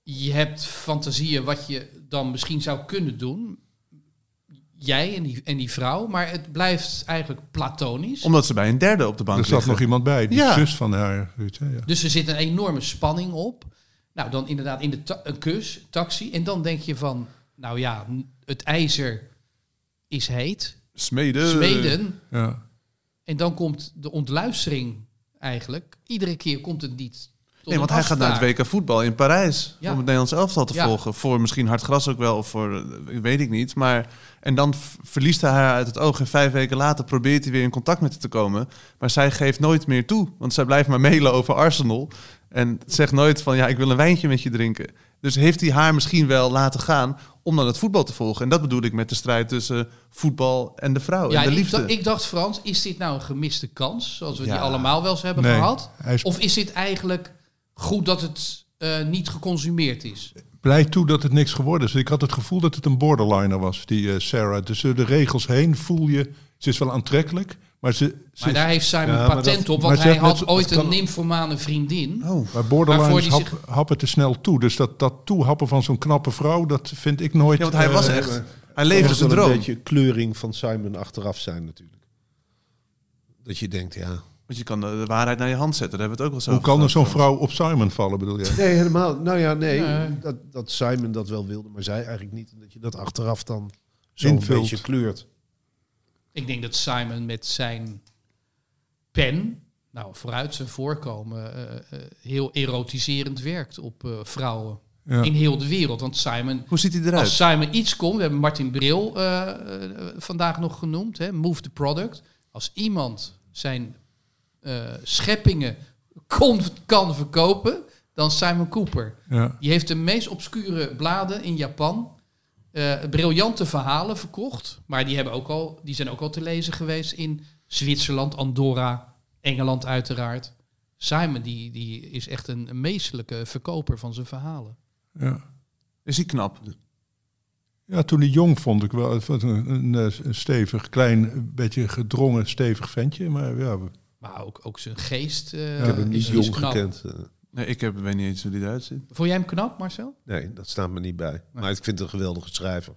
je hebt fantasieën wat je dan misschien zou kunnen doen. Jij en die, en die vrouw. Maar het blijft eigenlijk platonisch.
Omdat ze bij een derde op de bank
er zat
liggen.
nog iemand bij, die
Ja.
zus van haar. Ruud, hè, ja.
Dus er zit een enorme spanning op. Nou, dan inderdaad in de ta- een kus, taxi. En dan denk je van, nou ja, n- het ijzer is heet.
Smeden.
Smeden.
Ja.
En dan komt de ontluistering eigenlijk. Iedere keer komt het niet. tot
Nee, want
een
hij gaat naar
afspraak.
het WK voetbal in Parijs.
Ja.
Om het Nederlands elftal te
Ja.
volgen. Voor misschien hard gras ook wel. Of voor, eh, weet ik niet. Maar, en dan v- verliest hij haar uit het oog. En vijf weken later probeert hij weer in contact met haar te komen. Maar zij geeft nooit meer toe. Want zij blijft maar mailen over Arsenal. En zegt nooit van, ja, ik wil een wijntje met je drinken. Dus heeft hij haar misschien wel laten gaan om dan het voetbal te volgen. En dat bedoel ik met de strijd tussen voetbal en de vrouw.
Ja,
en de
ik,
liefde.
dacht, ik dacht Frans, is dit nou een gemiste kans? Zoals we
Ja.
die allemaal wel eens hebben
Nee,
gehad.
hij is
Of is dit eigenlijk goed dat het eh, niet geconsumeerd is?
blij toe dat het niks geworden is. Ik had het gevoel dat het een borderliner was, die eh, Sarah. Dus door de regels heen voel je, ze is wel aantrekkelijk, maar ze... ze
Maar
is-
daar heeft Simon
Ja, maar
patent
dat-
op,
maar
want
ze
hij
heeft net
had
zo-
ooit
dat kan-
een nymphomane vriendin.
Oh.
Maar borderliners
Waarvoor die
hap- happen te snel toe. Dus dat, dat toehappen van zo'n knappe vrouw, dat vind ik nooit...
Ja, want hij
eh,
was echt... Hij
Even
leefde zijn
een
droom.
beetje kleuring van Simon achteraf zijn natuurlijk. Dat je denkt, ja...
Want je kan de, de waarheid naar je hand zetten. Daar hebben we het ook wel zo
Hoe kan er
over
zo'n
gehad.
vrouw op Simon vallen, bedoel je?
Nee, helemaal. Nou ja, nee.
Nee.
Dat, dat Simon dat wel wilde, maar zij eigenlijk niet. En dat je dat achteraf dan zo'n
Invult.
beetje kleurt.
Ik denk dat Simon met zijn pen, nou vooruit zijn voorkomen, eh, eh, heel erotiserend werkt op eh, vrouwen.
Ja.
in heel de wereld. Want Simon,
Hoe ziet hij eruit?
als Simon iets kon, we hebben Martin Bril eh, eh, vandaag nog genoemd, hè, Move the Product. Als iemand zijn eh, scheppingen kon, kan verkopen, dan Simon Cooper.
Ja.
Die heeft de meest obscure bladen in Japan. eh, briljante verhalen verkocht. Maar die, hebben ook al, die zijn ook al te lezen geweest in Zwitserland, Andorra, Engeland uiteraard. Simon die, die is echt een een meestelijke verkoper van zijn verhalen.
Ja.
Is hij knap?
ja, toen hij jong vond ik wel het was een, een, eh, een stevig, klein, een beetje gedrongen, stevig ventje. Maar ja, we-
Maar ook, ook zijn geest eh
Ik heb hem
Niet
is, is
jong
knap.
gekend. eh,
Nee, ik heb, weet niet eens hoe die eruit ziet.
Vond jij hem knap, Marcel?
nee, dat staat me niet bij. Maar ik vind het een geweldige schrijver.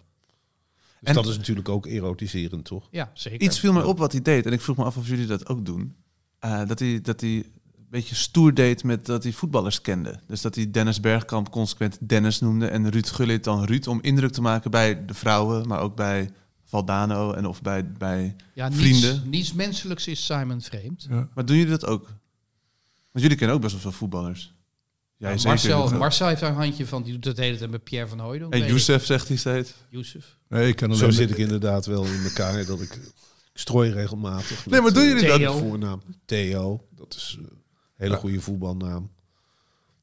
Dus
En-
dat is natuurlijk ook erotiserend, toch?
Ja, zeker.
Iets viel mij op wat hij deed. En ik vroeg me af of jullie dat ook doen. Eh, dat, hij, dat hij een beetje stoer deed met dat hij voetballers kende. Dus dat hij Dennis Bergkamp consequent Dennis noemde. En Ruud Gullit dan Ruud. Om indruk te maken bij de vrouwen. Maar ook bij Valdano. En of bij, bij...
ja, niets,
vrienden.
Niets menselijks is Simon vreemd.
Maar doen jullie dat ook? Want jullie kennen ook best wel veel voetballers. Jij zeker.
Marcel,
Dat-
Marcel heeft daar een handje van. Die doet dat de hele tijd met Pierre van Hooydonk.
En
weet
Youssef zegt hij steeds.
ik. Youssef.
nee, ik kan alleen
Zo
maar-
zit ik inderdaad wel in elkaar. Dat ik, ik strooi regelmatig.
Nee, maar doen jullie dat?
Theo.
Voornaam Theo. Dat is eh, een hele goede voetbalnaam.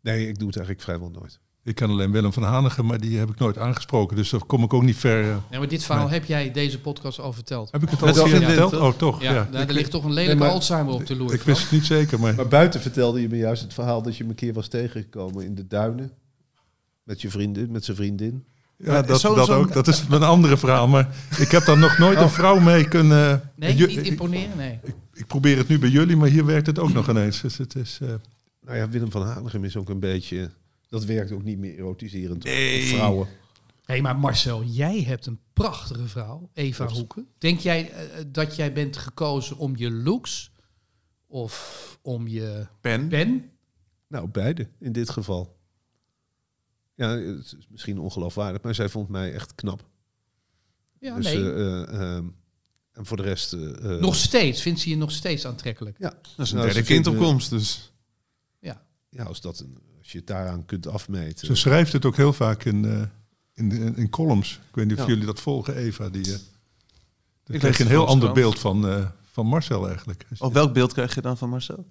Nee, ik doe het eigenlijk vrijwel nooit.
Ik kan alleen Willem van Hanegem, maar die heb ik nooit aangesproken. Dus daar kom ik ook niet ver. eh.
Nee, maar dit verhaal heb jij deze podcast al verteld.
Heb ik het al
Met
eens
Alvin
verteld?
Wind, toch?
Oh, toch?
Ja,
Ja.
daar
Ik-
er ligt toch een lelijke
Nee, maar-
Alzheimer op de loer.
Ik wist
Frank.
het niet zeker, maar
Maar buiten vertelde je me juist het verhaal dat je me een keer was tegengekomen in de duinen. Met je vriendin, met zijn vriendin.
ja,
Ja,
dat,
zo-
dat
zo'n-
ook. Dat is een andere verhaal. Maar ik heb daar nog nooit een vrouw mee kunnen.
Nee,
Ju-
niet
ik,
imponeren, nee.
ik probeer het nu bij jullie, maar hier werkt het ook nog ineens. Dus het is. eh,
Nou ja, Willem van Hanegem is ook een beetje... Dat werkt ook niet meer erotiserend. op Vrouwen.
Nee, maar Marcel, jij hebt een prachtige vrouw, Eva Hoeken. Denk jij eh, dat jij bent gekozen om je looks of om je
Pen.
pen?
Nou, beide in dit geval. Ja, het is misschien ongeloofwaardig, maar zij vond mij echt knap.
Ja,
dus,
nee.
eh, eh, ehm, en voor de rest... eh, eh,
nog steeds, vindt ze je nog steeds aantrekkelijk?
Ja,
Dat is een
Nou,
derde
ze
kind op
vinden-
komst. Dus.
Ja.
ja als, dat een, als je het daaraan kunt afmeten.
ze schrijft het ook heel vaak in, eh, in, in, in columns. Ik weet niet of
Ja.
jullie dat volgen, Eva. Die, eh
lees
ik kreeg
de
een heel ander beeld
Volkskrant.
van, eh, van Marcel eigenlijk. Dus,
Of welk beeld krijg je dan van Marcel?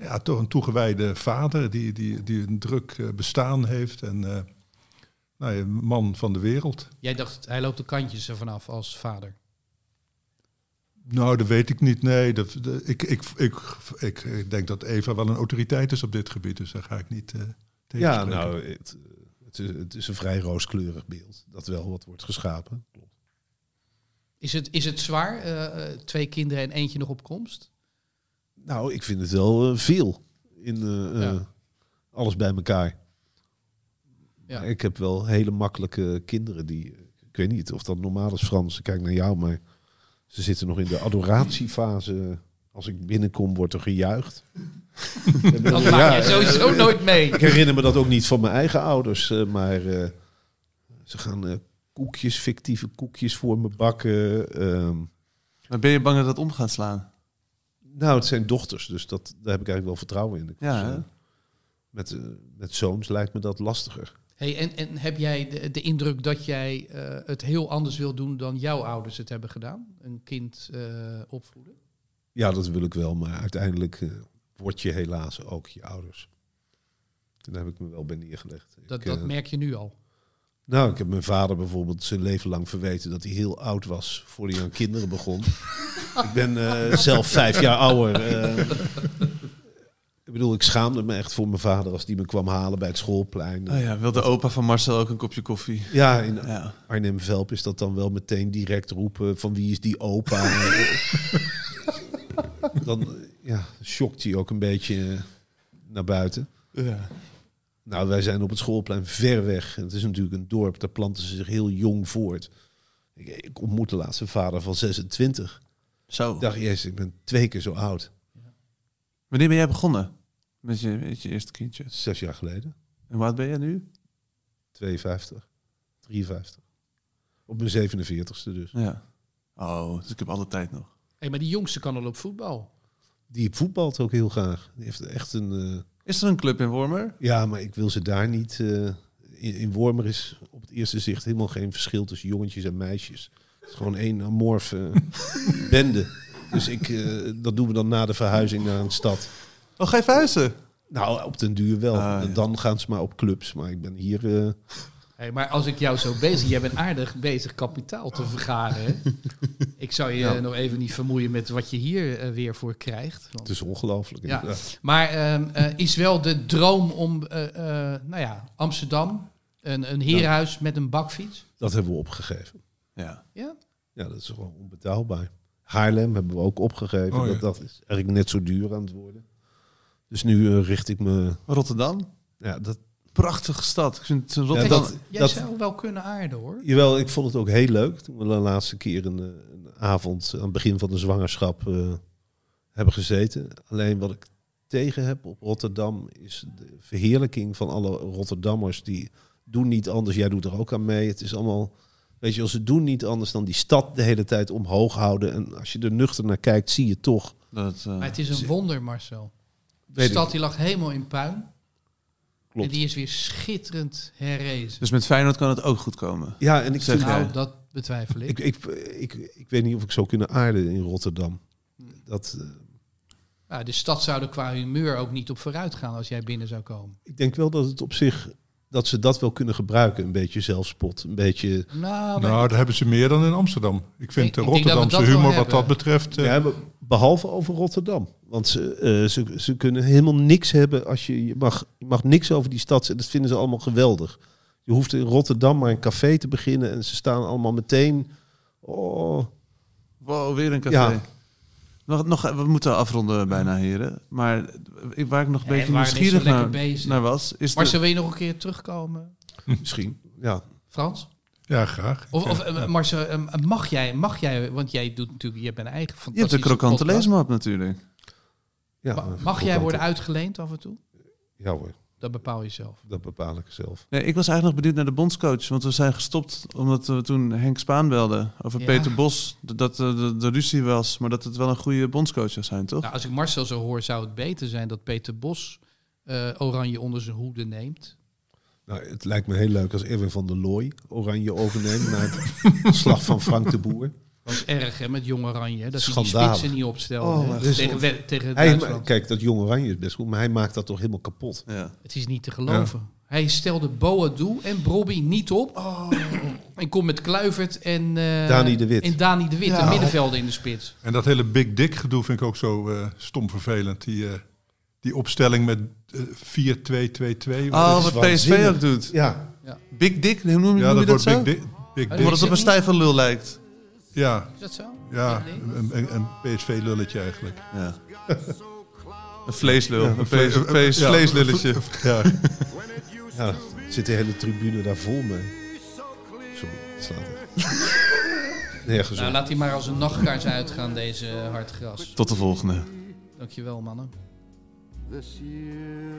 Ja, toch een toegewijde vader die, die, die een druk eh, bestaan heeft. En eh, nou, ja, man van de wereld.
Jij dacht, hij loopt de kantjes ervan af als vader.
Nou, dat weet ik niet. Nee, dat, dat- ik, ik, ik, ik, ik denk dat Eva wel een autoriteit is op dit gebied. Dus daar ga ik niet eh tegen
ja, nou, het, het, is, het is een vrij rooskleurig beeld. Dat wel wat wordt geschapen.
Is het, is het zwaar? eh, eh, twee kinderen en eentje nog op komst?
Nou, ik vind het wel eh, veel. In eh, eh,
Ja.
alles bij elkaar.
Ja.
Ik heb wel hele makkelijke kinderen die... eh, Ik weet niet of dat normaal is, Frans. Ik kijk naar jou, maar ze zitten nog in de adoratiefase. Als ik binnenkom, wordt er gejuicht. Ik
Dat
bedoel,
maak
ja,
jij sowieso nooit mee.
Ik herinner me dat ook niet van mijn eigen ouders, eh, maar eh, ze gaan eh, koekjes, fictieve koekjes voor me bakken. ehm.
Maar ben je bang dat dat om gaat slaan?
nou, het zijn dochters, dus dat, daar heb ik eigenlijk wel vertrouwen in. Ik
Ja,
was,
hè?
eh, met, eh, met zoons lijkt me dat lastiger.
Hey, en, en heb jij de, de indruk dat jij eh, het heel anders wil doen dan jouw ouders het hebben gedaan? Een kind eh, opvoeden?
Ja, dat wil ik wel, maar uiteindelijk eh, word je helaas ook je ouders. En daar heb ik me wel bij neergelegd.
Dat,
Ik,
dat
eh,
merk je nu al.
Nou, ik heb mijn vader bijvoorbeeld zijn leven lang verweten dat hij heel oud was voor hij aan kinderen begon. ik ben eh, zelf vijf jaar ouder. eh. ik bedoel, ik schaamde me echt voor mijn vader als die me kwam halen bij het schoolplein.
Oh ja, wil de opa van Marcel ook een kopje koffie?
Ja, in
Ja.
Arnhem-Velp is dat dan wel meteen direct roepen van wie is die opa. dan eh, ja, schokt hij ook een beetje eh, naar buiten.
ja.
Nou, wij zijn op het schoolplein ver weg. Het is natuurlijk een dorp, daar planten ze zich heel jong voort. Ik, ik ontmoette laatst een vader van 26.
Zo.
Ik dacht, jezus, ik ben twee keer zo oud.
Wanneer ben jij begonnen met je, met je eerste kindje?
Zes jaar geleden,
En hoe oud ben jij nu?
52, 53. Op mijn 47ste dus.
Ja. Oh, dus ik heb alle tijd nog.
Hey, maar die jongste kan al op voetbal.
Die voetbalt ook heel graag. Die heeft echt een... eh,
Is er een club in Wormer?
ja, maar ik wil ze daar niet... eh, in, in Wormer is op het eerste zicht helemaal geen verschil tussen jongetjes en meisjes. Het is gewoon één amorfe bende. Dus ik, eh, dat doen we dan na de verhuizing naar een stad.
Oh, ga je verhuizen?
Nou, op den duur wel.
Ah, ja.
Dan gaan ze maar op clubs. Maar ik ben hier... eh,
Hey, maar als ik jou zo bezig... Jij bent aardig bezig kapitaal te vergaren. hè? ik zou je
Ja.
eh, nog even niet vermoeien met wat je hier eh, weer voor krijgt. Want-
het is ongelooflijk.
Ja.
inderdaad.
Maar ehm, eh, is wel de droom om, eh, eh, nou ja, Amsterdam, een, een herenhuis met een bakfiets?
Dat hebben we opgegeven.
Ja.
Ja?
Ja, dat is gewoon onbetaalbaar. Haarlem hebben we ook opgegeven.
Oh, ja.
dat, dat is eigenlijk net zo duur aan het worden. Dus nu eh, richt ik me...
Rotterdam.
Ja, dat,
Prachtige stad. Ik vind Rotterdam...
Ja, dat-
Jij
dat-
zou wel kunnen aarden, hoor.
Jawel, ik vond het ook heel leuk toen we de laatste keer een, eh, een avond aan het begin van de zwangerschap eh, hebben gezeten. Alleen wat ik tegen heb op Rotterdam is de verheerlijking van alle Rotterdammers. Die doen niet anders. Jij doet er ook aan mee. Het is allemaal, weet je, als ze doen niet anders dan die stad de hele tijd omhoog houden. En als je er nuchter naar kijkt, zie je toch.
dat, eh,
Maar het is een wonder, Marcel. De
Weet ik.
stad die lag helemaal in puin.
Klopt.
En die is weer schitterend herrezen.
Dus met Feyenoord kan het ook goed komen.
Ja, en ik
Zeg
vind
jij.
Nou, dat betwijfel
Ik,
ik.
ik, ik, ik weet niet of ik zou kunnen aarden in Rotterdam. Dat, eh,
Nou, de stad zou er qua humeur ook niet op vooruit gaan als jij binnen zou komen.
ik denk wel dat het op zich dat ze dat wel kunnen gebruiken, een beetje zelfspot, een beetje.
Nou,
Nou, daar hebben ze meer dan in Amsterdam. Ik vind
Ik-
de
ik denk dat we
Rotterdamse
dat wel
humor wat
hebben.
dat betreft... eh,
Ja, be- behalve over Rotterdam, want ze, eh, ze, ze kunnen helemaal niks hebben als je je mag, je mag niks over die stad. zeggen. Dat vinden ze allemaal geweldig. Je hoeft in Rotterdam maar een café te beginnen en ze staan allemaal meteen. Oh,
Wow, weer een café.
Ja.
Nog, nog, we moeten afronden bijna, heren. Maar ik- waar ik nog een
Ja,
beetje
we waren niet zo
nieuwsgierig
lekker
naar,
bezig.
naar was... Is de,
Marcel, wil je nog een keer terugkomen?
misschien. Ja,
Frans?
ja, graag.
Of,
Ja.
of eh, Marcel, eh, mag jij, mag jij, want jij doet natuurlijk, je hebt een eigen
je hebt
fantastische
de krokante
podcast.
leesmap natuurlijk.
ja
Ma-
eh,
Mag jij worden
Rotterdam.
uitgeleend af en toe?
Ja hoor,
Dat bepaal je zelf.
dat bepaal ik zelf.
Nee, ik was eigenlijk nog benieuwd naar de bondscoach. Want we zijn gestopt omdat we toen Henk Spaan belden over
Ja.
Peter Bos. d- Dat eh, de, de ruzie was, maar dat het wel een goede bondscoach zou zijn, toch?
Nou, als ik Marcel zo hoor, zou het beter zijn dat Peter Bos eh, Oranje onder zijn hoede neemt.
Nou, het lijkt me heel leuk als Erwin van der Looy Oranje overneemt na het slag van Frank de Boer.
Was erg, hè, met Jong Oranje. hè, Dat ze die
Schandalig.
spitsen niet opstelde.
Oh,
hè,
mijn God.
tegen we- tegen
Hij,
Duitsland.
ma- kijk, dat Jong Oranje is best goed, maar hij maakt dat toch helemaal kapot.
Ja.
Het is niet te geloven. Hij stelde Boadu en Brobby niet op. En komt met Kluivert en, eh,
Dani de Wit.
en Dani de Wit, de middenvelden in de spits.
En dat hele Big Dick gedoe vind ik ook zo eh, stom vervelend. Die, eh, die opstelling met eh, 4-2-2-2.
Oh,
is
wat PSV
waanzinnig.
ook doet.
Ja,
Big Dick, hoe noem je,
ja,
noem je dat
dat wordt
zo?
Big Dick. Big
Hij
Omdat
Dick.
het op een stijve lul lijkt.
Ja,
Is dat zo?
ja een, een, een PSV-lulletje eigenlijk.
Ja. Een vleeslul. Een
vlees-
vlees- vlees-
ja,
vleeslulletje.
Ja,
ja, zit de hele tribune daar vol mee. Sorry, het slaat echt nergens
Nou,
op.
laat hij maar als een nachtkaars uitgaan, deze hardgras.
Tot de volgende.
Dankjewel, mannen.
this year.